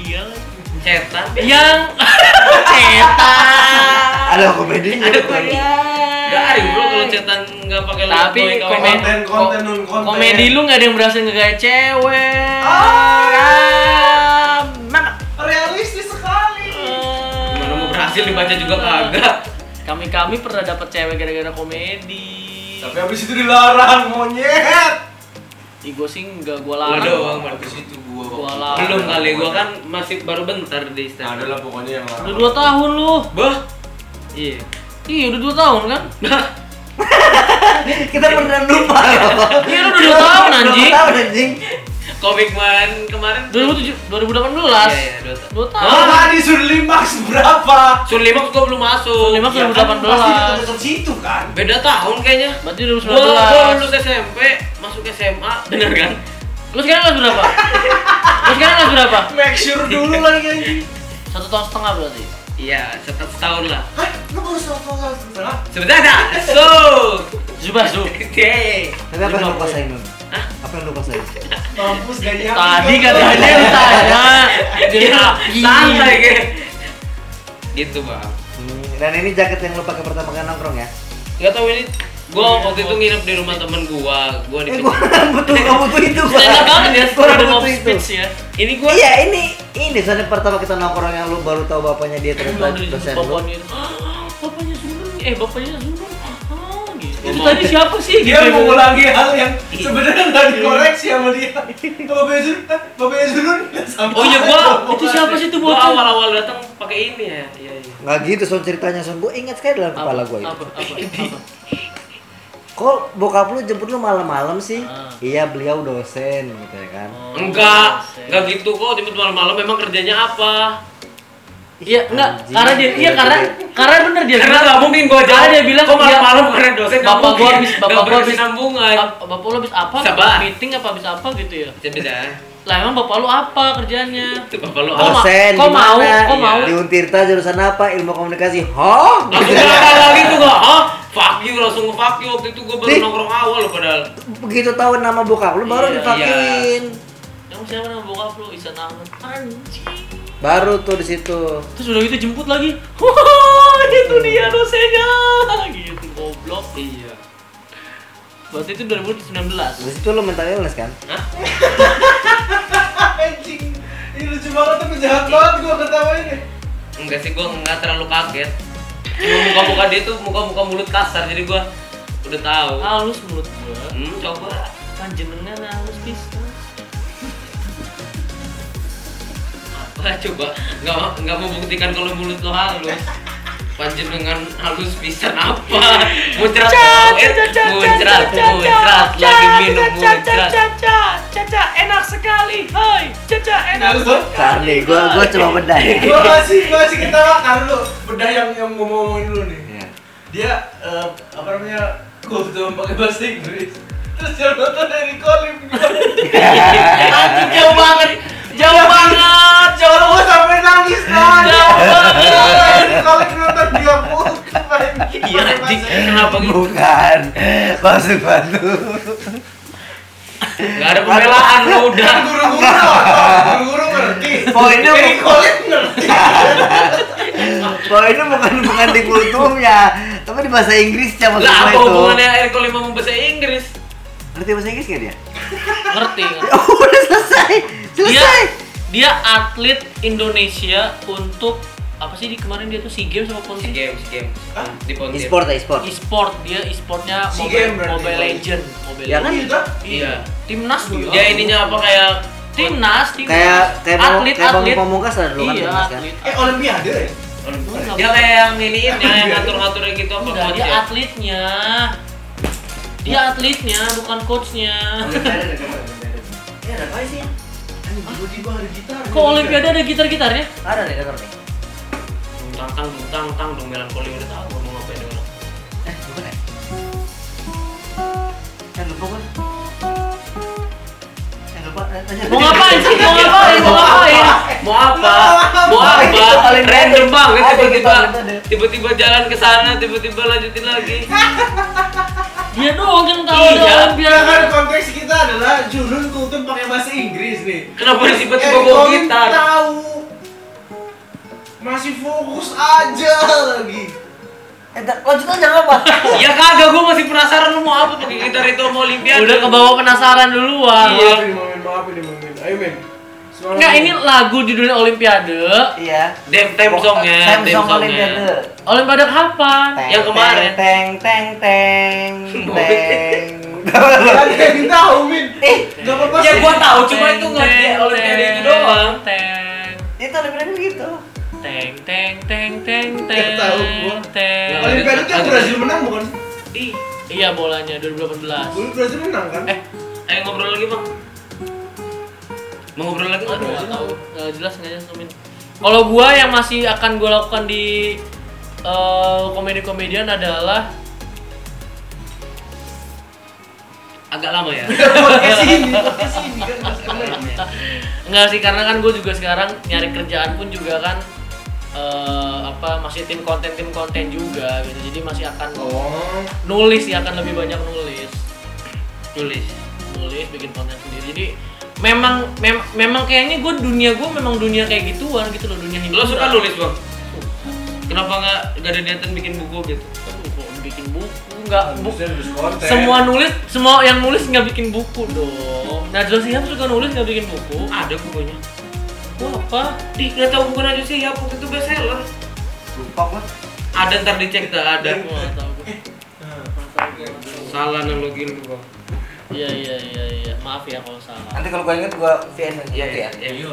Speaker 2: Iya lagi.
Speaker 3: cetan
Speaker 2: Yang cetak.
Speaker 5: Ada komedinya.
Speaker 3: ada
Speaker 5: bukan?
Speaker 3: komedi garing bro kalau cetan nggak pakai
Speaker 2: Iya. Tapi
Speaker 3: lato, kawan.
Speaker 2: komen-
Speaker 4: Konten konten non konten.
Speaker 2: Komedi lu nggak ada yang berhasil ngegaya cewek.
Speaker 4: Ah.
Speaker 2: Ah, mana?
Speaker 4: realistis
Speaker 2: Hmm.
Speaker 4: sekali.
Speaker 3: Gimana mau berhasil dibaca juga
Speaker 2: Nah.
Speaker 3: kagak.
Speaker 2: Kami kami pernah dapat cewek gara-gara komedi.
Speaker 4: Tapi habis itu dilarang monyet.
Speaker 2: di gue sih nggak
Speaker 4: Gua
Speaker 2: gue larang
Speaker 4: doang man, ke situ gua.
Speaker 2: Gua
Speaker 4: waktu
Speaker 2: lah.
Speaker 4: itu.
Speaker 3: Belum kali gua kan masih baru bentar di stand.
Speaker 4: Nah. Ada lah pokoknya yang lama.
Speaker 2: udah dua tahun lu
Speaker 3: Bah. Iya.
Speaker 2: iya udah dua tahun kan
Speaker 3: Nah,
Speaker 5: Kita beneran lupa loh.
Speaker 2: iya lu udah dua tahun anjing
Speaker 5: Tahu anjing.
Speaker 3: Komik man kemarin.
Speaker 2: 2007
Speaker 3: Iya, iya,
Speaker 2: 2018
Speaker 3: dua tahun.
Speaker 2: dua
Speaker 4: Ah,
Speaker 2: tahun
Speaker 4: di Sunlimax berapa?
Speaker 3: Sun Limax gua belum masuk.
Speaker 2: Sun Limax
Speaker 3: Ya
Speaker 2: belum
Speaker 3: kan?
Speaker 2: dapat.
Speaker 4: Pasti deket-deket situ kan.
Speaker 3: Beda tahun kayaknya.
Speaker 2: berarti
Speaker 3: Gua, gua
Speaker 2: 2019
Speaker 3: lulus SMP, masuk SMA, bener kan?
Speaker 2: lu sekarang kelas berapa lu sekarang kelas berapa
Speaker 4: Make sure dulu lagi anjing.
Speaker 2: satu tahun setengah berarti
Speaker 3: Iya, setahun setahun lah.
Speaker 4: Hah, lu baru sama kelas setengah?
Speaker 3: Sebenarnya, so,
Speaker 2: Zubah Zub
Speaker 3: deh.
Speaker 5: Tapi apa yang lu pasain Nun?
Speaker 3: Hah?
Speaker 5: Apa yang lu pasain?
Speaker 4: Mampus gaji aku.
Speaker 2: tadi kan katanya lu tanya
Speaker 3: Iya,
Speaker 2: Iya.
Speaker 3: santai ge. Gitu bang.
Speaker 5: Hmm, Dan ini jaket yang lu pakai pertama kali nongkrong ya?
Speaker 3: Gak tau ini, Iya, gua waktu itu nginep di rumah temen gua, gua di.
Speaker 5: Eh gua butuh nggak butuh itu gua.
Speaker 2: Stand up banget ya,
Speaker 5: Gua nggak
Speaker 2: freedom of
Speaker 5: butuh itu.
Speaker 2: speech ya.
Speaker 3: Ini gua.
Speaker 5: Iya ini ini soalnya pertama kita nongkrong yang lu baru tahu bapaknya dia ternyata
Speaker 2: Aduh,
Speaker 5: dosen lu.
Speaker 2: bapaknya itu, "Ah, bapaknya Sumber, eh bapaknya Sumber, ah, gitu. Itu tadi siapa sih?
Speaker 4: Dia
Speaker 2: Gitu.
Speaker 4: mengulangi hal yang
Speaker 2: Iya.
Speaker 4: sebenarnya nggak dikoreksi sama dia. Bapak Ezrun, eh, Bapak Ezrun sama.
Speaker 3: Oh iya gua,
Speaker 2: Itu siapa sih itu
Speaker 3: gua
Speaker 2: bocah?
Speaker 3: awal-awal datang pakai ini ya. Iya iya.
Speaker 5: Nggak gitu soal ceritanya soal gua ingat sekali dalam
Speaker 2: Apa,
Speaker 5: kepala gua itu.
Speaker 2: Apa, apa, apa?
Speaker 5: Kok bokap lu jemput lu malam-malam sih?
Speaker 2: Ah.
Speaker 5: Iya beliau dosen gitu ya kan.
Speaker 2: Oh,
Speaker 3: Enggak,
Speaker 2: saya-
Speaker 3: enggak gitu kok. Tiba malam-malam memang kerjanya apa?
Speaker 2: Iya, enggak.
Speaker 5: Anjing.
Speaker 2: Karena dia, iya karena, karena bener dia.
Speaker 3: Karena
Speaker 2: bilang,
Speaker 3: nggak mungkin gua jawab.
Speaker 2: Karena dia bilang,
Speaker 3: kok malam-malam
Speaker 2: iya,
Speaker 3: karena dosen. nggak
Speaker 2: bapak gua
Speaker 3: mungkin.
Speaker 2: habis,
Speaker 3: Nggak
Speaker 2: bapak gua habis,
Speaker 3: berkesinambungan.
Speaker 2: bap- bapak lu habis apa?
Speaker 3: Sabar.
Speaker 2: Meeting apa habis apa gitu ya?
Speaker 3: Bisa beda.
Speaker 2: Lah emang bapak lu apa kerjanya?
Speaker 3: Itu bapak lu.
Speaker 2: Kok
Speaker 3: apa?
Speaker 2: ma-
Speaker 5: Dosen
Speaker 2: kok
Speaker 5: di
Speaker 2: mau?
Speaker 5: mana?
Speaker 2: Kok mau?
Speaker 5: Di Untirta jurusan apa? Ilmu komunikasi. Hah?
Speaker 3: Langsung gagal lagi tuh gua. Hah? Fuck you, langsung fuck you. Waktu itu gua baru
Speaker 5: Ih.
Speaker 3: nongkrong awal loh padahal.
Speaker 5: Begitu tahu nama bokap lu baru
Speaker 3: Iya,
Speaker 5: dipakein.
Speaker 2: Emang siapa nama bokap lu? Isan Ahmad. Anjing.
Speaker 5: Baru tuh di situ.
Speaker 2: Terus udah gitu jemput lagi. Wah, itu dia dosennya. Gitu goblok.
Speaker 3: Iya.
Speaker 2: Berarti itu 2019.
Speaker 5: Di situ lu mental illness kan?
Speaker 4: Anjing. Ini lucu banget tapi jahat banget gua ketawain.
Speaker 3: Enggak sih gua enggak terlalu kaget. Cuma muka-muka dia tuh muka-muka mulut kasar jadi gua udah tahu.
Speaker 2: Halus menurut gua.
Speaker 3: Hmm, coba.
Speaker 2: Panjenengan halus pisan.
Speaker 3: Apa coba? Nggak nggak membuktikan kalau mulut lo halus. Panjenengan halus pisan apa? Muncrat tauhid, muncrat, muncrat lagi minum muncrat.
Speaker 2: caca enak sekali. Hai, caca
Speaker 4: Nah, lu
Speaker 2: Iya,
Speaker 5: Karni, gua gua cuma bedah. ya.
Speaker 4: gua masih gua masih ketawa karena lu bedah yang yang gua mau ngomongin dulu nih. Dia eh, apa namanya? Gua tuh pakai bahasa Inggris. Terus dia nonton dari Colin.
Speaker 2: Anjing jauh banget. Jauh banget. Jauh
Speaker 4: Kalau gua sampai nangis kan.
Speaker 2: Jauh banget.
Speaker 4: Colin nonton dia pun kemarin.
Speaker 3: Iya anjing, kenapa gitu?
Speaker 5: Bukan. Maksud bantu.
Speaker 3: Enggak ada pembelaan lo udah.
Speaker 4: Kan Guru-guru apa? Guru-guru ngerti.
Speaker 5: Poinnya
Speaker 4: Dari
Speaker 5: bu-
Speaker 4: Colin ngerti.
Speaker 5: poinnya bukan bukan di kultumnya, tapi di bahasa Inggrisnya
Speaker 3: Lah
Speaker 5: maksudnya
Speaker 3: apa
Speaker 5: itu.
Speaker 3: hubungannya Eriko lima sama bahasa Inggris?
Speaker 5: Ngerti bahasa Inggris gak dia?
Speaker 2: Ngerti nggak?
Speaker 5: Oh, udah selesai.
Speaker 2: dia
Speaker 5: Selesai.
Speaker 2: dia atlet Indonesia untuk apa sih di kemarin dia tuh SEA Games sama
Speaker 3: Si
Speaker 2: Ponti
Speaker 3: game, si game.
Speaker 4: Hah?
Speaker 3: Di Pontianak.
Speaker 5: E-sport ya, e-sport.
Speaker 2: e-sport dia e-sportnya
Speaker 4: SEA
Speaker 2: Mobile,
Speaker 4: Games berarti.
Speaker 2: Mobile Legend Mobile
Speaker 5: Ya kan?
Speaker 2: Legend.
Speaker 4: Iya.
Speaker 3: Iya.
Speaker 2: timnas dia
Speaker 3: Dia ininya apa kayak
Speaker 2: timnas timnas
Speaker 5: Kayak kayak mau
Speaker 2: atlet
Speaker 5: kayak Bang
Speaker 2: atlet
Speaker 5: Pamungkas ada dulu kan
Speaker 2: iya
Speaker 5: timnas kan?
Speaker 2: atlet
Speaker 4: Eh Olimpiade ya?
Speaker 3: dia kayak yang iniin, yang ngatur-ngatur gitu apa coach
Speaker 2: Enggak, Iya,
Speaker 3: ya?
Speaker 2: dia
Speaker 3: Iya.
Speaker 2: atletnya dia atletnya bukan coachnya
Speaker 4: Olimpiade ada kemarin. Eh ada apa sih? Anjing, tiba-tiba ada gitar.
Speaker 2: kok olimpiade ada gitar gitarnya
Speaker 5: Ada nih denger nih.
Speaker 3: Tang tang tang tang dong melankoli udah tahu mau ngapain dengan aku.
Speaker 5: Eh, bukan ya? Eh, lupa gua. Eh, lupa. eh, tanya.
Speaker 2: mau ngapain sih mau ngapain mau ngapain
Speaker 3: Mau apa? Mau apa? Random banget
Speaker 5: Ada gitu,
Speaker 3: tiba-tiba
Speaker 5: ada.
Speaker 3: tiba-tiba jalan ke sana, tiba-tiba lanjutin lagi.
Speaker 2: dia doang kan tahu ada
Speaker 3: Iya.
Speaker 4: Ya
Speaker 2: olimpiade
Speaker 4: kan konteks kita adalah Jurun Kultum pakai bahasa Inggris nih.
Speaker 3: Kenapa dia tiba-tiba
Speaker 4: Eh,
Speaker 3: bawa
Speaker 4: Colin
Speaker 3: gitar?
Speaker 4: Tahu. Masih fokus aja lagi.
Speaker 5: Eh, tak- lanjut aja nggak apa.
Speaker 3: Ya kagak, gua masih penasaran lu mau apa pakai gitar itu mau olimpiade.
Speaker 2: udah kebawa penasaran duluan
Speaker 3: Iya.
Speaker 4: Maafin, maafin, maafin, maafin. Ayo, men. Semangat.
Speaker 2: Enggak, ini lagu judulnya Olimpiade.
Speaker 5: Iya.
Speaker 3: Dem tem songnya,
Speaker 5: Time
Speaker 3: dem ya.
Speaker 5: song
Speaker 3: songnya.
Speaker 5: Olimpiade.
Speaker 2: Olimpiade kapan?
Speaker 5: Teng,
Speaker 3: Yang kemarin.
Speaker 5: Teng teng teng teng.
Speaker 4: Gak ada yang tahu, Min.
Speaker 5: Eh,
Speaker 4: Gak apa-apa
Speaker 3: Ya
Speaker 4: sih.
Speaker 3: gua tahu cuma itu nggak dia oleh dia itu doang.
Speaker 2: Teng
Speaker 5: itu olimpiade gitu.
Speaker 2: teng teng teng teng
Speaker 4: Nggak
Speaker 2: teng
Speaker 4: tahu gua.
Speaker 2: teng.
Speaker 4: Olimpiade itu yang Brazil menang bukan sih?
Speaker 3: Di,
Speaker 2: Iya bolanya 2018.
Speaker 4: Dulu Brazil menang kan?
Speaker 2: Eh,
Speaker 3: ayo ngobrol lagi bang. Mau ngobrol lagi nggak?
Speaker 2: aduh nggak tahu. Nggak jelas nggak jelas Min. Kalau gua yang masih akan gua lakukan di eh, komedi-komedian adalah
Speaker 3: Agak lama ya.
Speaker 4: Iya, Podcast ini, podcast ini kan masih keren.
Speaker 2: Enggak sih karena kan gue juga sekarang nyari kerjaan pun juga kan eh, apa masih tim konten tim konten juga gitu jadi masih akan
Speaker 4: Oh.
Speaker 2: nulis ya akan lebih banyak nulis
Speaker 3: Tulis.
Speaker 2: nulis bikin konten sendiri jadi memang mem- memang kayaknya gue dunia gue memang dunia kayak gituan gitu loh dunia
Speaker 3: Lo
Speaker 2: hiburan
Speaker 3: suka nulis bang? Kenapa nggak nggak ada niatan bikin buku gitu?
Speaker 2: Aduh, kok bikin buku nggak bu-
Speaker 4: Brazil terus konten.
Speaker 2: semua nulis semua yang nulis nggak bikin buku dong nah Najwa Shihab suka nulis nggak bikin buku
Speaker 3: Ada bukunya.
Speaker 2: Wah, apa
Speaker 3: Di nggak tahu bukan aja sih ya buku itu bestseller.
Speaker 5: Lupa gua.
Speaker 3: Ada ntar dicek tak ada.
Speaker 2: Gua nggak tahu gua.
Speaker 4: Nah,
Speaker 3: Salah analogi lu bang.
Speaker 2: Iya iya iya iya maaf ya kalau salah.
Speaker 5: Nanti kalau gua inget gua VN lagi ya.
Speaker 3: iya.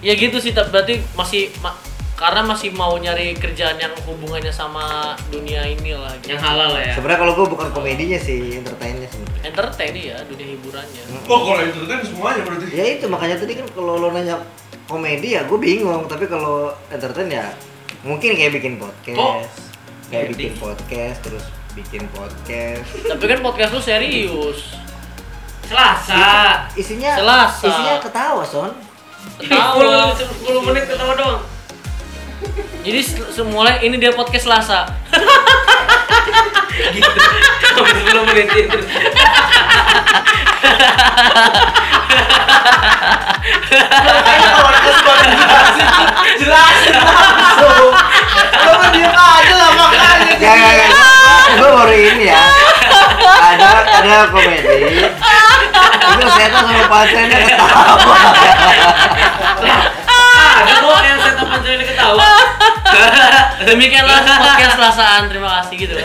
Speaker 2: Ya gitu sih tapi berarti masih ma- karena masih mau nyari kerjaan yang hubungannya sama dunia inilah gitu.
Speaker 3: Yang halal lah ya.
Speaker 5: Sebenarnya kalau gua bukan komedinya sih, entertainnya sebenarnya.
Speaker 2: Entertain ya dunia hiburannya.
Speaker 4: Kok
Speaker 3: Oh.
Speaker 4: kalau itu kan semuanya berarti.
Speaker 5: Ya itu makanya tadi kan kalau lo nanya komedi ya gua bingung, tapi kalau entertain ya mungkin kayak bikin podcast.
Speaker 3: Oh.
Speaker 5: Kayak
Speaker 3: Komedi.
Speaker 5: bikin podcast terus bikin podcast.
Speaker 2: Tapi kan podcast lu serius.
Speaker 3: Selasa.
Speaker 5: Isinya
Speaker 2: Selasa.
Speaker 5: isinya ketawa, Son.
Speaker 3: Iya.
Speaker 2: Ketawa.
Speaker 3: 10 menit ketawa doang.
Speaker 2: Jadi se- semula ini dia podcast Selasa.
Speaker 3: Gitu. 10 menit gitu.
Speaker 4: Makanya kalau ada kesempatan jelasin, jelasin langsung. Kalau kan dia aja lah makanya.
Speaker 5: Ya, ya, ya. Gua- Gua baru ini ya. Ada ada komedi. Itu saya tuh sama pasiennya ketawa.
Speaker 3: Ah, ada kok yang saya tapan saya ketawa.
Speaker 2: Demikianlah podcast Selasaan. Terima kasih gitu.
Speaker 3: Lah,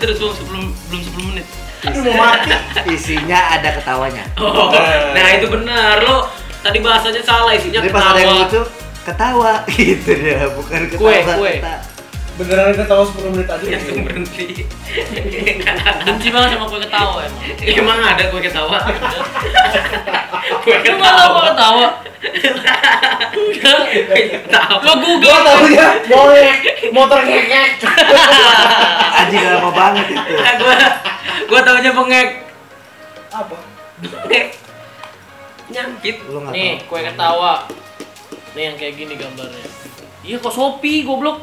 Speaker 3: Terus bang sebelum belum 10 menit.
Speaker 4: Aduh mau mati.
Speaker 5: Isinya ada ketawanya.
Speaker 3: Oh, nah itu benar lo tadi bahasanya salah isinya
Speaker 5: Jadi pas ada yang
Speaker 3: ketawa.
Speaker 5: lucu ketawa gitu ya, bukan ketawa.
Speaker 2: Kue, kue.
Speaker 5: keta-
Speaker 4: Beneran ketawa 10 menit aja.
Speaker 3: Ya tuh berhenti.
Speaker 2: Benci banget sama gue ketawa emang.
Speaker 3: Emang ada gue ketawa. gue
Speaker 2: Lu malah kok
Speaker 3: ketawa.
Speaker 2: ketawa. Enggak.
Speaker 3: Ketawa.
Speaker 4: Gua
Speaker 2: Lo Google.
Speaker 4: tahunya mau motor ngekek.
Speaker 5: Anjing lama banget itu.
Speaker 3: Nah, Gua gua taunya bengek.
Speaker 4: Apa?
Speaker 3: Bengek. Nyangkit.
Speaker 5: Lu enggak
Speaker 2: Nih, kue ketawa. Nih yang kayak gini gambarnya. Iya kok Shopee goblok.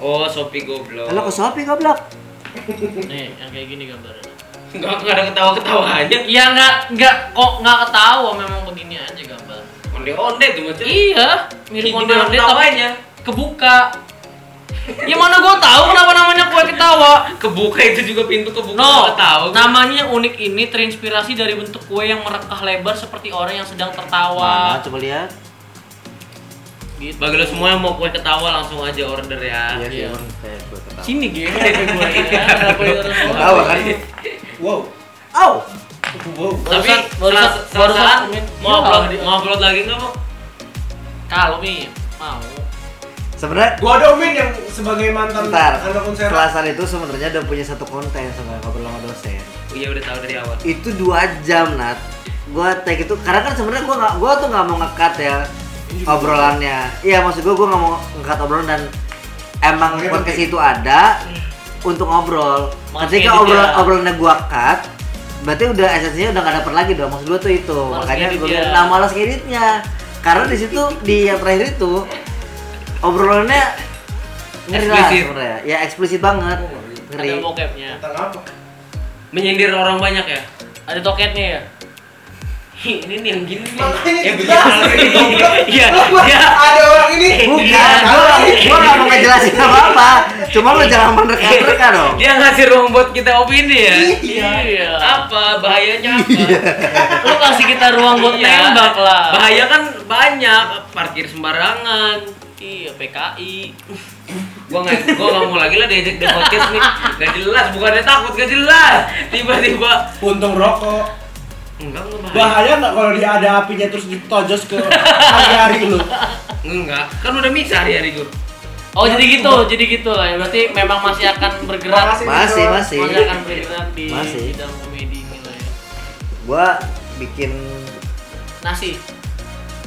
Speaker 3: Oh, Sopi goblok.
Speaker 5: Lo ke Shopee goblok.
Speaker 2: Nih, yang kayak gini gambarnya.
Speaker 3: Enggak enggak ada ketawa-ketawanya.
Speaker 2: Iya nggak nggak kok nggak ketawa memang begini aja gambar.
Speaker 3: Onde-onde tuh macam.
Speaker 2: Iya, mirip
Speaker 3: Gimana
Speaker 2: onde onde tapi
Speaker 3: ketawanya?
Speaker 2: kebuka. Ya mana gua tahu kenapa namanya kue ketawa.
Speaker 3: Kebuka itu juga pintu kebuka
Speaker 2: No,
Speaker 3: nggak tahu.
Speaker 2: namanya yang unik ini terinspirasi dari bentuk kue yang merekah lebar seperti orang yang sedang
Speaker 5: Wah,
Speaker 2: tertawa.
Speaker 5: coba lihat.
Speaker 2: Gitu.
Speaker 3: Bagi lo semua yang mau kue ketawa langsung aja order ya.
Speaker 5: Iya sih,
Speaker 2: iya.
Speaker 5: emang kayak gue ketawa.
Speaker 2: Sini geng, gue
Speaker 3: Iya,
Speaker 2: ya. Kenapa itu harus
Speaker 5: Ketawa kan?
Speaker 4: Wow.
Speaker 5: Au.
Speaker 4: Wow.
Speaker 3: Tapi
Speaker 2: Barusan- barusan-
Speaker 3: selas- selasaan
Speaker 2: barusan-
Speaker 3: mau
Speaker 2: Iya,
Speaker 3: upload
Speaker 2: kalau-
Speaker 3: mau upload lagi nggak Oh, mau?
Speaker 2: Kalau Mi mau.
Speaker 5: Sebenarnya
Speaker 4: Gua ada Omin yang sebagai mantan
Speaker 5: Bentar,
Speaker 4: anak konser.
Speaker 5: Selasan itu sebenarnya udah punya satu konten sama ngobrol sama dosen.
Speaker 3: Iya udah tahu dari awal.
Speaker 5: Itu dua jam nat. Gua take itu karena kan sebenarnya gua nggak, gua tuh nggak mau ngekat ya
Speaker 2: Gitu.
Speaker 5: obrolannya. Iya maksud gua gua nggak mau ngekat obrolan dan emang
Speaker 4: Oke,
Speaker 5: podcast
Speaker 4: penting.
Speaker 2: gitu.
Speaker 5: itu ada
Speaker 2: Hmm.
Speaker 5: untuk ngobrol.
Speaker 2: Maksudnya
Speaker 5: Ketika
Speaker 2: edit ya.
Speaker 5: obrolan obrolannya gua cut, berarti udah esensinya udah nggak dapet lagi dong. Maksud gua tuh itu.
Speaker 2: Males
Speaker 5: Makanya
Speaker 2: ngedit
Speaker 5: gua
Speaker 2: ya.
Speaker 5: bilang, nah malas ngeditnya. Karena di situ di yang terakhir itu obrolannya ngeri lah
Speaker 3: Eksplisit.
Speaker 5: sebenarnya. Ya eksplisit banget. Ngeri.
Speaker 2: Oh, iya. Ada bokepnya.
Speaker 4: Tentang apa?
Speaker 3: Menyindir orang banyak ya.
Speaker 2: Ada toketnya ya?
Speaker 3: Ih, ini nih yang gini nih.
Speaker 4: Makanya
Speaker 3: yang
Speaker 4: dijelasin, goblok.
Speaker 3: Iya.
Speaker 4: Lu gua-
Speaker 3: Iya.
Speaker 4: Ada orang ini.
Speaker 5: Bukan,
Speaker 4: Ada
Speaker 5: gua
Speaker 4: orang ini.
Speaker 5: gua gak mau ngejelasin apa-apa. Cuma lu jangan menerka-nerka dong.
Speaker 3: Dia ngasih ruang buat kita opini ya.
Speaker 2: Iya.
Speaker 3: Apa bahayanya apa?
Speaker 2: Lu kasih kita ruang buat
Speaker 3: Iya.
Speaker 2: nembak lah.
Speaker 3: Bahaya kan banyak parkir sembarangan.
Speaker 2: Iya, PKI.
Speaker 3: gua nggak gua nggak mau lagi lah diajak di podcast nih gak jelas bukannya takut gak jelas tiba-tiba
Speaker 4: Untung rokok.
Speaker 3: enggak enggak bahaya
Speaker 4: Bahaya nggak kalau dia ada apinya terus ditojos ke hari-hari lu?
Speaker 3: enggak kan udah misa hari-hari gua
Speaker 2: Oh jadi
Speaker 3: Iya,
Speaker 2: gitu, jadi gitu lah. ya. Berarti memang masih akan bergerak,
Speaker 4: Makasih.
Speaker 5: masih masih
Speaker 2: masih akan bergerak di
Speaker 5: Masih.
Speaker 2: dalam komedi ini lah ya.
Speaker 5: gua bikin
Speaker 2: Nasi,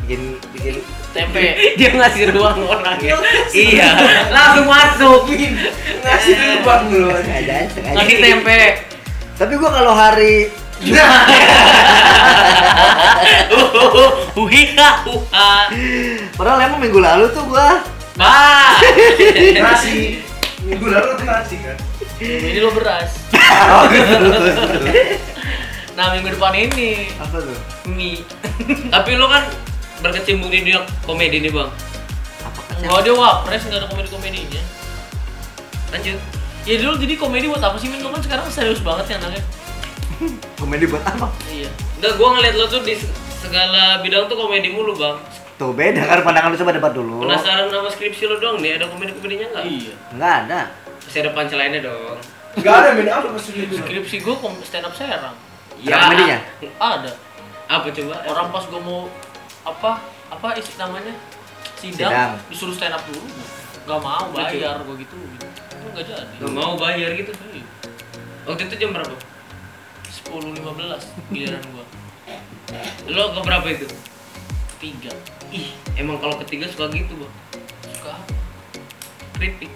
Speaker 5: bikin bikin
Speaker 2: tempe.
Speaker 3: dia ngasih ruang orang ya iya langsung masuk
Speaker 4: Ngasih dulu bang lu.
Speaker 5: sengaja sengaja
Speaker 2: Nasi tempe.
Speaker 5: tapi gua kalau hari
Speaker 2: Huhiha, huha.
Speaker 5: padahal emang minggu lalu tuh gua
Speaker 2: Bah,
Speaker 4: Nasi. Minggu lalu tuh nasi kan.
Speaker 2: ini lo beras.
Speaker 5: Oh.
Speaker 2: Nah minggu depan ini
Speaker 5: apa tuh
Speaker 2: mie.
Speaker 3: tapi lu kan berkecimpung di dunia komedi nih bang
Speaker 2: Kalau dia wapres nggak ada komedi komedinya.
Speaker 3: lanjut
Speaker 2: Ya dulu jadi komedi buat apa sih Min? Lu kan sekarang serius banget ya anaknya.
Speaker 5: komedi buat apa
Speaker 2: Iya.
Speaker 3: Enggak, gua ngeliat lo tuh di segala bidang tuh komedi mulu bang
Speaker 5: tuh beda kan pandangan lu coba debat dulu
Speaker 3: Penasaran sama skripsi lo dong nih, ada komedi-komedinya nggak?
Speaker 2: Iya.
Speaker 5: nggak ada
Speaker 3: Pasti ada punchline-nya dong
Speaker 4: Gak ada beda apa maksudnya itu?
Speaker 2: Skripsi gue stand up serang.
Speaker 5: Ada komedinya?
Speaker 2: Ada.
Speaker 3: Apa coba?
Speaker 2: orang pas gue mau apa apa isi namanya sidang,
Speaker 5: Sidang.
Speaker 2: disuruh stand up dulu gak mau
Speaker 3: Lucu.
Speaker 2: bayar gue gitu gitu Itu nggak jadi
Speaker 3: Nggak mau bayar gitu Waktu itu jam berapa?
Speaker 2: sepuluh lima belas giliran gue
Speaker 3: Lo ke berapa itu?
Speaker 2: tiga
Speaker 3: Ih, emang kalau ketiga suka gitu bang
Speaker 2: suka apa?
Speaker 3: Kritik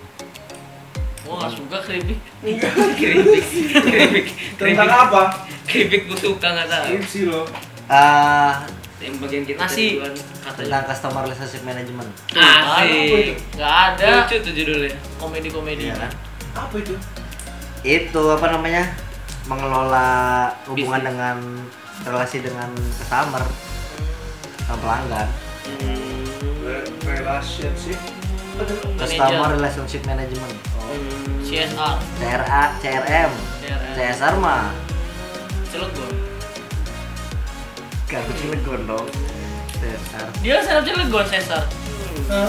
Speaker 2: gue nggak suka keripik
Speaker 3: Kritik Kritik
Speaker 4: Tentang
Speaker 3: Kritik
Speaker 4: apa? Iya.
Speaker 3: Kritik gue suka nggak tahu
Speaker 4: Skripsi lo.
Speaker 5: Eh,
Speaker 3: Yang bagian kita
Speaker 2: Nasi.
Speaker 3: tadi kan, katanya
Speaker 5: tentang customer relationship management
Speaker 3: Asik
Speaker 2: nggak ada
Speaker 3: Lucu
Speaker 4: Ya.
Speaker 3: tuh judulnya
Speaker 2: komedi komedi
Speaker 5: Iya kan?
Speaker 4: Apa itu?
Speaker 5: itu apa namanya mengelola hubungan
Speaker 3: Bisnis.
Speaker 5: dengan relasi dengan customer sama pelanggan
Speaker 3: Hmm.
Speaker 4: Relationship.
Speaker 5: customer relationship management
Speaker 3: Hmm.
Speaker 2: CSR
Speaker 5: CRA CRM
Speaker 2: CRM
Speaker 5: CSR mah
Speaker 2: Cilegon
Speaker 5: gak bikin legon dong CSR
Speaker 2: dia stand up Cilegon CSR
Speaker 3: Iya.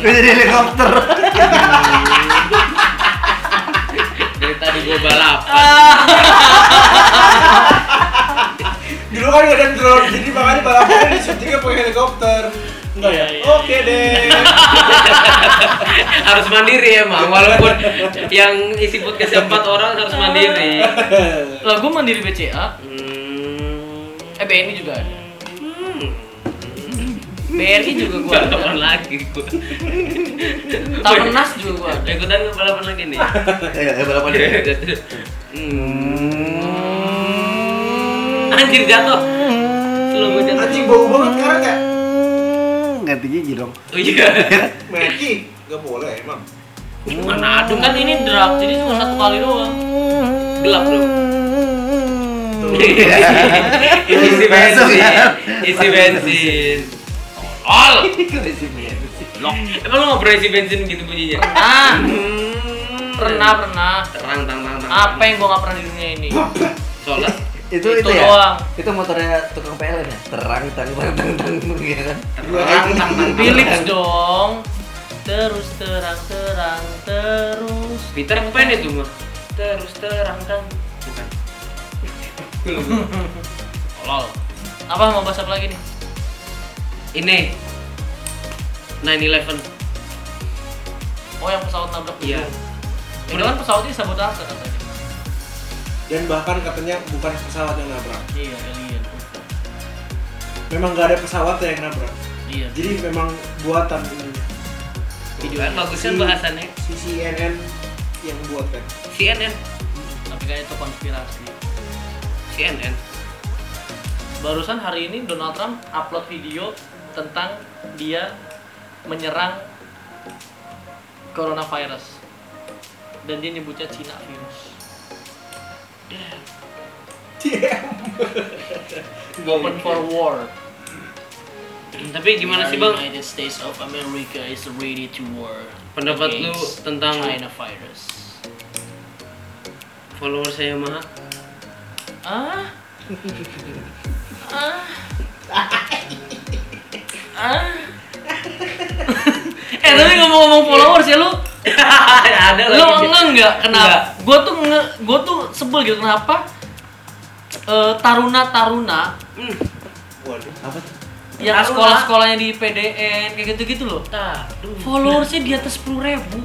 Speaker 5: gue jadi helikopter
Speaker 3: Dari tadi gue balap
Speaker 4: Dulu kan nggak ada drone, jadi makanya balapannya di syutingnya pakai helikopter. Enggak ya?
Speaker 2: Iya, iya.
Speaker 4: Oke deh.
Speaker 3: harus mandiri emang walaupun yang isi podcast empat orang harus mandiri Hmm,
Speaker 2: lah gue mandiri BCA eh BNI juga ada BRI juga gue
Speaker 3: gua
Speaker 2: ada
Speaker 3: balapan lagi gua
Speaker 2: Tapenas juga gue ada
Speaker 3: ikutan ke balapan lagi nih
Speaker 5: eh balapan deh.
Speaker 3: Hmm. anjir jatuh Slow gua jatuh
Speaker 4: Anjing bau banget ya? sekarang kayak.
Speaker 5: ganti gigi dong
Speaker 3: oh iya
Speaker 4: Meki, nggak boleh emang.
Speaker 3: mana aduh
Speaker 2: kan ini draft jadi cuma satu kali doang
Speaker 3: gelap lu
Speaker 4: Tuh.
Speaker 3: isi
Speaker 5: Masuk,
Speaker 3: bensin
Speaker 5: ya?
Speaker 3: isi bensin tolol Loh, emang lo ngobrol isi bensin gitu bunyinya
Speaker 2: ah
Speaker 3: Hmm.
Speaker 2: pernah pernah
Speaker 3: terang terang terang terang.
Speaker 2: apa yang gua nggak pernah di dunia ini
Speaker 3: sholat
Speaker 5: itu
Speaker 2: Itu
Speaker 5: itu, ya
Speaker 2: doang.
Speaker 5: itu motornya tukang PLN ya terang tang tang tang tang gitu kan
Speaker 3: terang terang terang
Speaker 2: Philips dong terus terang terang terus kan?
Speaker 3: Peter Pan itu mah terus terang terang bukan
Speaker 2: lol apa mau bahas apa lagi nih
Speaker 3: ini 911
Speaker 2: oh yang pesawat nabrak
Speaker 3: Iya.
Speaker 2: itu kan pesawatnya sabotase katanya
Speaker 4: Dan bahkan katanya bukan pesawat yang nabrak.
Speaker 2: iya alien
Speaker 4: Memang nggak ada pesawat yang nabrak.
Speaker 2: iya
Speaker 4: Jadi memang buatan ini.
Speaker 3: video kan bagusan bahasannya
Speaker 4: Si CNN yang buat kan.
Speaker 3: CNN
Speaker 2: tapi kayaknya itu konspirasi
Speaker 3: CNN
Speaker 2: barusan hari ini Donald Trump upload video tentang dia menyerang coronavirus dan dia nyebutnya Cina virus. Open for war.
Speaker 3: tapi gimana sih bang
Speaker 2: United States of America is ready to war.
Speaker 3: Pendapat lu
Speaker 2: against
Speaker 3: tentang-
Speaker 2: China virus?
Speaker 3: follower saya mah
Speaker 2: Ah? ah? ah? eh ya lu
Speaker 3: ada Eh,
Speaker 2: lu
Speaker 3: lagi
Speaker 2: nge nggak
Speaker 3: Nggak.
Speaker 2: kenapa gue tuh nge gue tuh sebel gitu kenapa Eh, taruna taruna
Speaker 3: Hmm,
Speaker 4: Waduh.
Speaker 5: apa tuh?
Speaker 2: yang
Speaker 3: Taruna.
Speaker 2: sekolah-sekolahnya di PDN kayak gitu-gitu loh followersnya di atas 10.000 ribu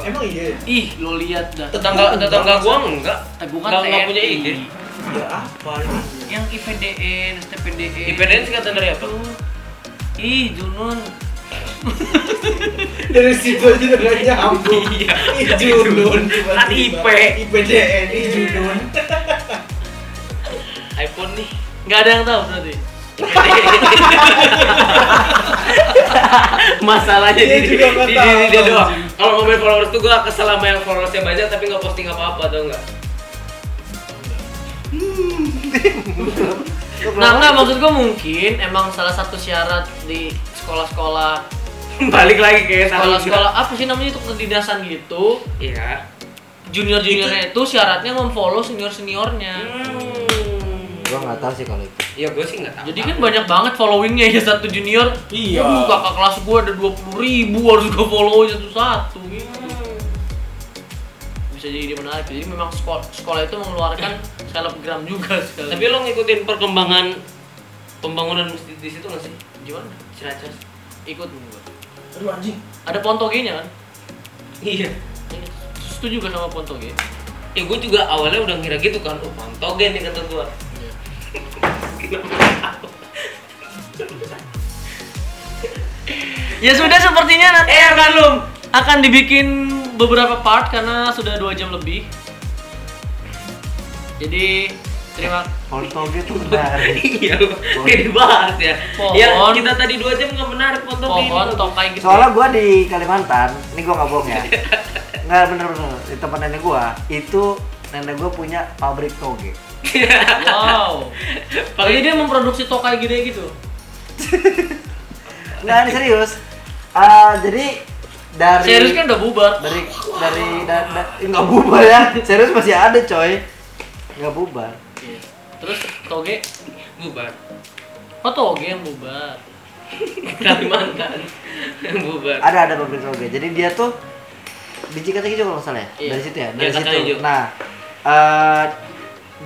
Speaker 4: Emang iya. ya?
Speaker 2: ih lo lihat dah
Speaker 3: tetangga tetangga gua enggak
Speaker 2: teguh
Speaker 3: enggak
Speaker 2: kan
Speaker 3: enggak punya
Speaker 2: TNI.
Speaker 3: IG
Speaker 4: Ya apa? ini?
Speaker 2: yang IPDN STPDN
Speaker 3: IPDN singkatan dari apa
Speaker 2: Tuh. E. ih Junun
Speaker 4: Dari situ aja udah nyambung.
Speaker 3: Iya.
Speaker 4: Ijunun.
Speaker 3: Kan IP.
Speaker 4: IPDN Ijunun.
Speaker 3: iPhone nih
Speaker 2: nggak ada yang tahu berarti
Speaker 3: masalahnya
Speaker 4: Dia
Speaker 3: di
Speaker 4: juga nggak
Speaker 3: di
Speaker 4: tahu.
Speaker 3: diri dia doang kalau ngomongin followers tuh gua kesel sama yang followersnya banyak tapi nggak posting apa apa tau nggak
Speaker 2: nah nggak maksud gue mungkin emang salah satu syarat di sekolah-sekolah
Speaker 3: balik lagi ke
Speaker 2: sekolah-sekolah apa sih namanya itu kedinasan gitu
Speaker 3: iya
Speaker 2: junior juniornya itu syaratnya memfollow senior seniornya
Speaker 5: gua nggak tahu sih kalau itu
Speaker 3: Hmm. ya gua sih nggak tahu
Speaker 2: jadi kan banyak banget followingnya ya satu junior
Speaker 4: Iya.
Speaker 2: Aduh, kakak kelas gue ada 20.000 ribu harus gue follow satu-satu gitu bisa jadi menarik jadi memang sekolah, sekolah itu mengeluarkan selebgram juga sekali
Speaker 3: tapi lo ngikutin perkembangan pembangunan masjid di situ nggak sih
Speaker 2: gimana
Speaker 3: ciracas
Speaker 2: ikut gue
Speaker 4: Aduh anjing.
Speaker 2: ada pontoginya kan
Speaker 3: iya
Speaker 2: Ini setuju gak sama pontogi
Speaker 3: ya gua juga awalnya udah ngira gitu kan oh pantogen nih kata gua
Speaker 2: ya sudah sepertinya nanti akan Eh, akan dibikin beberapa part karena sudah dua jam lebih jadi terima
Speaker 5: kontol gitu menarik
Speaker 3: iya lu jadi bahas ya
Speaker 2: Pohon.
Speaker 3: ya kita tadi dua jam nggak menarik pontogen
Speaker 2: pohon tokai gitu
Speaker 5: soalnya gua di Kalimantan ini gua nggak bohong ya nggak bener-bener di tempat nenek gua itu nenek gua punya pabrik toge
Speaker 2: wow jadi dia memproduksi tokai gede gitu
Speaker 5: nggak ini serius Ah, jadi dari
Speaker 2: serius kan udah bubar
Speaker 5: dari dari da- da- nggak bubar ya serius masih ada coy nggak bubar
Speaker 2: terus toge
Speaker 3: bubar
Speaker 2: oh toge yang bubar
Speaker 3: Kalimantan bubar
Speaker 5: ada ada pabrik toge jadi dia tuh di Cikata Hijau kalau nggak salah ya
Speaker 2: Iya.
Speaker 5: dari situ ya dari
Speaker 3: Iya, Kata
Speaker 5: situ
Speaker 3: Hijau.
Speaker 5: nah eh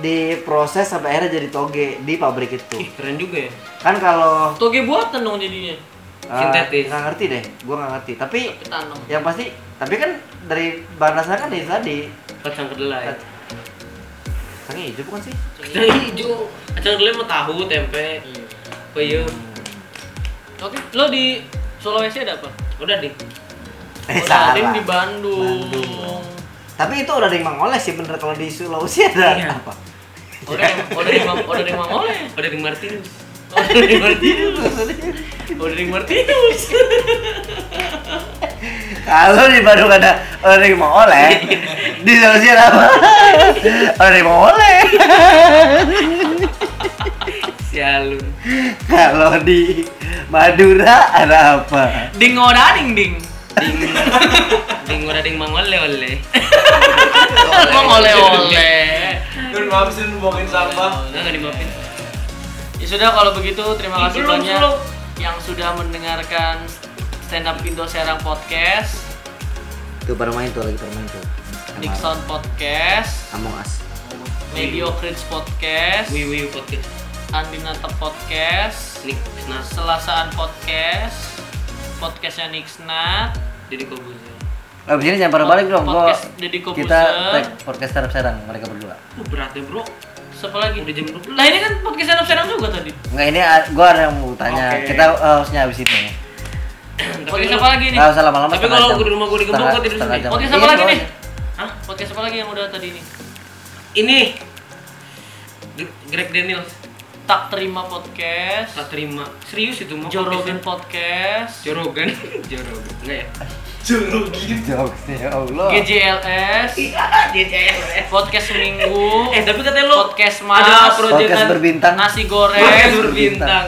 Speaker 5: diproses sampai akhirnya jadi toge di pabrik itu
Speaker 3: Ih, keren juga ya
Speaker 5: kan kalau
Speaker 2: toge buatan dong jadinya
Speaker 5: eh,
Speaker 3: Sintetis.
Speaker 5: nggak ngerti deh gua nggak ngerti tapi
Speaker 2: ketanam
Speaker 5: yang pasti tapi kan dari bahan dasarnya kan itu tadi
Speaker 3: kacang kedelai
Speaker 5: kacang hijau bukan sih
Speaker 3: kacang hijau kacang kedelai mah tahu tempe
Speaker 2: Hmm.
Speaker 3: Oh iya, peyem
Speaker 2: oke lo di Sulawesi ada apa?
Speaker 3: udah deh
Speaker 5: eh
Speaker 2: Oh,
Speaker 5: salah
Speaker 2: Salim di Bandung. Oh,
Speaker 5: Bandung. tapi itu udah ada yang mengoleh sih bener kalau di Sulawesi ada
Speaker 3: Iya.
Speaker 5: apa
Speaker 2: Udah, udah di Mang- udah di Mangole.
Speaker 3: udah di Martinus
Speaker 2: Oh, Udah di Martinus. Oh, Udah di Martinus.
Speaker 5: Kalau di Bandung ada orang yang mau oleh, di Sulawesi ada apa? Orang yang mau oleh.
Speaker 3: sialun
Speaker 5: Kalau di Madura ada apa?
Speaker 2: Ding ora ding ding.
Speaker 3: ding ding udah ding mangole ole
Speaker 2: Mang oleh oleh. Kan
Speaker 4: Nun maaf sih nun buangin sampah.
Speaker 3: nggak dimaafin
Speaker 2: Ya sudah kalau begitu terima kasih
Speaker 3: Ih, belum,
Speaker 2: banyak
Speaker 3: belum.
Speaker 2: yang sudah mendengarkan stand up Indo Serang podcast,
Speaker 5: Tuh pada main tuh lagi pada main tuh.
Speaker 2: Nick Sound podcast,
Speaker 5: Among Us.
Speaker 2: Mediocrits podcast,
Speaker 3: wiwi podcast
Speaker 2: Andinata podcast,
Speaker 3: nik nas
Speaker 2: Selasaan podcast, podcastnya Nixnat,
Speaker 3: jadi ya. kobuzer
Speaker 5: Nah, begini jangan pada balik dong. Gua,
Speaker 2: Podcast Deddy Corbuzier.
Speaker 5: kita tag podcast serap serang mereka berdua.
Speaker 3: Lu berat ya bro
Speaker 2: siapa lagi?
Speaker 3: udah jam 12
Speaker 2: Lah ini kan podcast Serang Serang juga tadi.
Speaker 5: Enggak ini a- gua ada yang mau tanya.
Speaker 3: Oke.
Speaker 5: Kita eh, harusnya habis ini.
Speaker 2: Podcast apa lagi nih?
Speaker 5: Enggak usah lama-lama.
Speaker 3: Tapi
Speaker 5: setengah
Speaker 3: kalau
Speaker 5: jam.
Speaker 3: di rumah gua di Gebang,
Speaker 5: Setengah-
Speaker 3: gua tidur
Speaker 5: setengah jam.
Speaker 3: sendiri.
Speaker 2: Podcast
Speaker 5: Iya,
Speaker 2: apa lagi
Speaker 5: bawah
Speaker 2: nih?
Speaker 5: aja.
Speaker 2: Hah? Podcast apa lagi yang udah tadi nih?
Speaker 3: ini Gre- Greg Daniels
Speaker 2: Tak terima podcast,
Speaker 3: tak terima serius itu mau
Speaker 2: Jorogen podcast,
Speaker 3: Jorogan Jorogan enggak ya
Speaker 4: Jerogi.
Speaker 2: gitu.
Speaker 5: Jokesnya, ya Allah.
Speaker 2: GJLS, podcast seminggu,
Speaker 3: eh tapi katanya lo
Speaker 2: podcast
Speaker 3: ada
Speaker 2: mas,
Speaker 3: proyekan-
Speaker 5: Podcast berbintang.
Speaker 2: nasi
Speaker 3: Podcast
Speaker 2: goreng,
Speaker 3: berbintang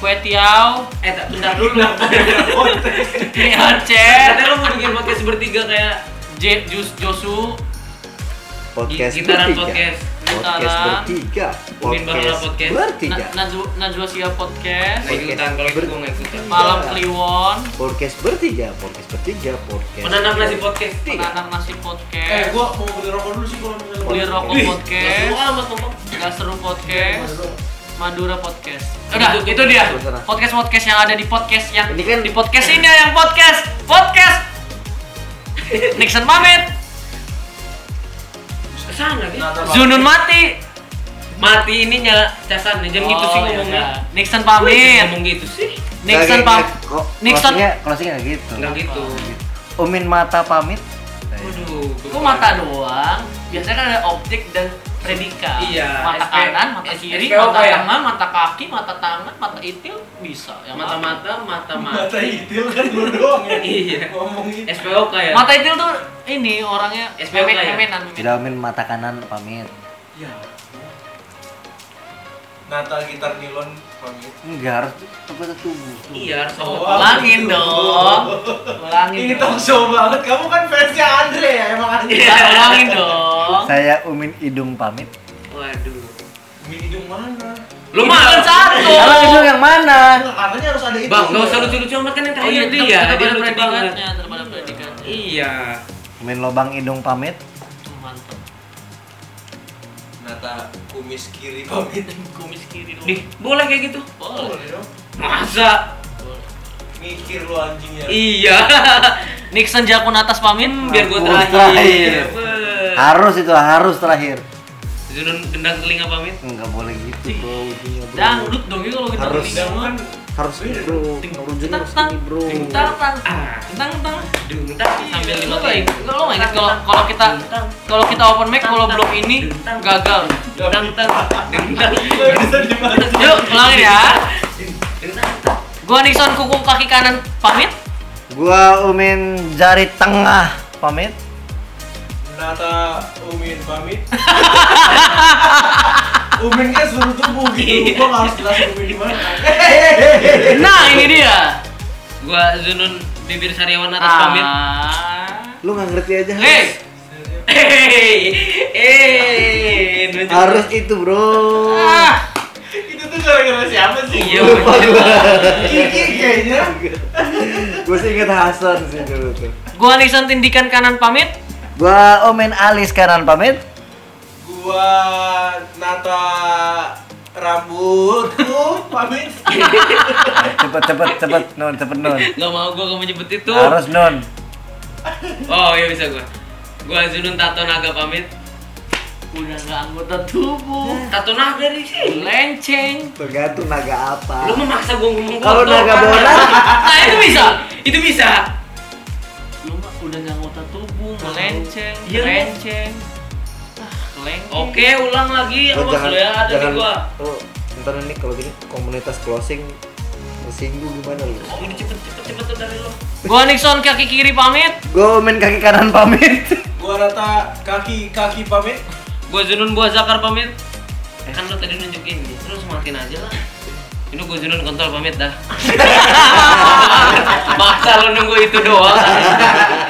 Speaker 2: kue tiaw,
Speaker 3: eh tak bentar dulu
Speaker 2: Neocer,
Speaker 3: katanya lo mau bikin podcast bertiga kayak
Speaker 2: J Jus Josu,
Speaker 5: Podcast
Speaker 3: gitaran
Speaker 5: bertiga.
Speaker 3: podcast
Speaker 5: podcast
Speaker 2: antara
Speaker 5: bertiga
Speaker 3: Udin Barla Podcast.
Speaker 5: bertiga
Speaker 2: Na- Najwa- Najwa Sia Podcast,
Speaker 3: Nggak ikutan, kalau itu gue nggak ikutan
Speaker 2: Malam
Speaker 5: Iya.
Speaker 2: Kliwon,
Speaker 5: podcast bertiga podcast bertiga podcast
Speaker 3: Penanam nasi podcast
Speaker 2: Penanak Nasi Podcast,
Speaker 4: Eh, gua mau beli rokok dulu sih kalau misalnya.
Speaker 2: Beli Rokok ya.
Speaker 3: Wih,
Speaker 2: Podcast,
Speaker 3: nggak semua amat, Ngomong.
Speaker 2: Gak Seru Podcast, Madura Podcast.
Speaker 3: Itu
Speaker 2: Udah,
Speaker 3: tuh,
Speaker 2: itu dia.
Speaker 5: itu sana.
Speaker 2: Podcast-podcast yang ada di podcast yang
Speaker 5: Ini kan-
Speaker 2: di podcast ini yang podcast. Podcast. Nixon Mamet,
Speaker 3: Kesana dia
Speaker 2: Zunun mati.
Speaker 3: Mati ini nyala casan
Speaker 2: Oh,
Speaker 3: nih, jangan gitu
Speaker 2: iya,
Speaker 3: sih ngomongnya
Speaker 2: Nixon
Speaker 3: Gue jangan
Speaker 2: pamit.
Speaker 3: ngomong gitu sih
Speaker 2: Nixon pamit. Nixon.
Speaker 5: closingnya nggak gitu
Speaker 3: Nggak gitu
Speaker 5: umin mata pamit
Speaker 3: Waduh
Speaker 2: Kok mata doang? Biasanya kan ada objek dan predikat.
Speaker 3: Iya,
Speaker 2: Mata
Speaker 3: SP
Speaker 2: kanan, mata
Speaker 3: SP
Speaker 2: kiri,
Speaker 3: apa
Speaker 2: mata
Speaker 3: ya?
Speaker 2: tengah, mata kaki, mata tangan, mata itil bisa. Ya, Yang lain.
Speaker 3: Mata-mata, mata-mata
Speaker 4: Mata hitil kan lu doang ya.
Speaker 3: Iya.
Speaker 4: Ngomongin.
Speaker 2: Eh.
Speaker 3: SPOK ya?
Speaker 2: Mata itil tuh ini orangnya
Speaker 3: SPOK
Speaker 2: memen-
Speaker 3: ya?
Speaker 2: memenan, memenan.
Speaker 5: tidak umin mata kanan pamit
Speaker 4: Ya. Nata gitar nilon pamit.
Speaker 5: enggak harus tepat tubuh
Speaker 3: Iya, harus
Speaker 4: Oh,
Speaker 3: apa?
Speaker 2: Ulangin
Speaker 4: gitu.
Speaker 2: dong. Ulangin.
Speaker 4: Ini talk
Speaker 2: dong.
Speaker 4: show banget. Kamu kan fansnya Andre ya, emang Andre.
Speaker 2: Kita ulangin dong.
Speaker 5: saya umin hidung pamit
Speaker 3: Waduh
Speaker 4: Mini hidung mana?
Speaker 3: Lu
Speaker 2: Ini
Speaker 3: mah
Speaker 2: bukan
Speaker 3: Oh.
Speaker 2: satu.
Speaker 5: kalau hidung yang mana
Speaker 4: Nah, Katanya harus ada itu.
Speaker 3: Bang, gak usah lucu-lucu amat kan yang
Speaker 2: Oh iya,
Speaker 3: terakhir
Speaker 2: dia,
Speaker 3: dia Dia
Speaker 2: terpada
Speaker 3: lucu banget
Speaker 2: predikatnya, terpada predikatnya.
Speaker 3: Iya
Speaker 5: umin lobang hidung pamit
Speaker 2: Itu mantep.
Speaker 4: Nata kumis kiri pamit.
Speaker 2: Kumis kiri dong.
Speaker 3: Dih, boleh kayak gitu?
Speaker 2: Boleh.
Speaker 4: Boleh dong.
Speaker 3: Masa?
Speaker 2: boleh.
Speaker 4: Mikir lu ya. anjingnya.
Speaker 3: Iya Hmm,
Speaker 2: Nixon Jakun atas pamit
Speaker 3: Biar gue
Speaker 5: Aku
Speaker 3: terakhir
Speaker 5: terakhir.
Speaker 3: Weh.
Speaker 5: harus itu harus terakhir
Speaker 3: Zunun gendang telinga pamit
Speaker 5: enggak boleh gitu bro ujungnya, bro.
Speaker 2: dangdut dong itu kalau kita
Speaker 5: Harus.
Speaker 2: gini.
Speaker 4: Hidung kan
Speaker 5: harus ini, bro ujungnya
Speaker 2: Tentang,
Speaker 5: harus ini bro
Speaker 2: tentang,
Speaker 3: Ah.
Speaker 2: tentang, tentang.
Speaker 3: Dung, tak sambil
Speaker 4: Iya,
Speaker 2: Lu
Speaker 3: lima
Speaker 2: nggak inget- lu nggak inget kalau kalau kita kalau kita open mic kalau belum ini gagal.
Speaker 3: Dendang tang Dendang
Speaker 4: Gak bisa dimasukin.
Speaker 2: Yuk, ulangin ya.
Speaker 3: Dendang tang
Speaker 2: Gua Nixon kuku kaki kanan pamit.
Speaker 5: gua umin jari tengah pamit
Speaker 4: Nata Umin pamit. Umin kan seluruh tubuh gitu. Gua nggak harus jelasin Umin di mana.
Speaker 2: Nah, ini dia.
Speaker 3: Gua Zunun bibir sariawan atas pamit
Speaker 2: Ah.
Speaker 5: lu nggak ngerti aja
Speaker 2: Hei,
Speaker 3: Hei, eh, nunjuk.
Speaker 5: harus itu bro
Speaker 2: ah,
Speaker 4: Itu tuh gara-gara siapa sih?
Speaker 3: Iya,
Speaker 5: lupa gua
Speaker 4: Kiki kayaknya.
Speaker 5: gua sih inget Hasan sih dulu tuh
Speaker 2: gua Nixon tindikan kanan pamit.
Speaker 5: gua oh, umin alis kanan pamit
Speaker 4: Gua nata rambutku pamit.
Speaker 5: cepet cepet cepet non cepet non
Speaker 3: Gak mau gua gak mau nyebut itu.
Speaker 5: harus non
Speaker 3: Oh iya bisa gua. Gua Zunun tato naga pamit.
Speaker 2: Udah nggak anggota tubuh.
Speaker 3: Tato naga di sini.
Speaker 2: Lenceng.
Speaker 5: tergantung naga
Speaker 3: Lu
Speaker 5: apa
Speaker 3: memaksa gua ngomong
Speaker 5: kalau
Speaker 3: kotor,
Speaker 5: naga
Speaker 3: kan?
Speaker 5: bola
Speaker 2: Nah, itu bisa.
Speaker 3: itu bisa.
Speaker 2: Lu mah udah nggak anggota tubuh, melenceng,
Speaker 3: Iya, lu.
Speaker 2: melenceng. Ah, kelengkeng.
Speaker 3: Oke, ulang lagi
Speaker 5: Gua
Speaker 3: apa sudah ya ada di gua.
Speaker 5: lu ntar Oh, ini kalau gini komunitas closing tersinggung gimana lu
Speaker 3: Oh, udah cepet cepet cepet tuh dari lu.
Speaker 2: Gua Nixon kaki kiri pamit.
Speaker 5: gua main kaki kanan pamit
Speaker 4: Gua nata kaki kaki pamit.
Speaker 3: Gua Zunun buah zakar pamit. Kan lu tadi nunjukin gitu, terus matiin aja lah. Ini gua Zunun kontol pamit dah. Maksa lu nunggu itu doang.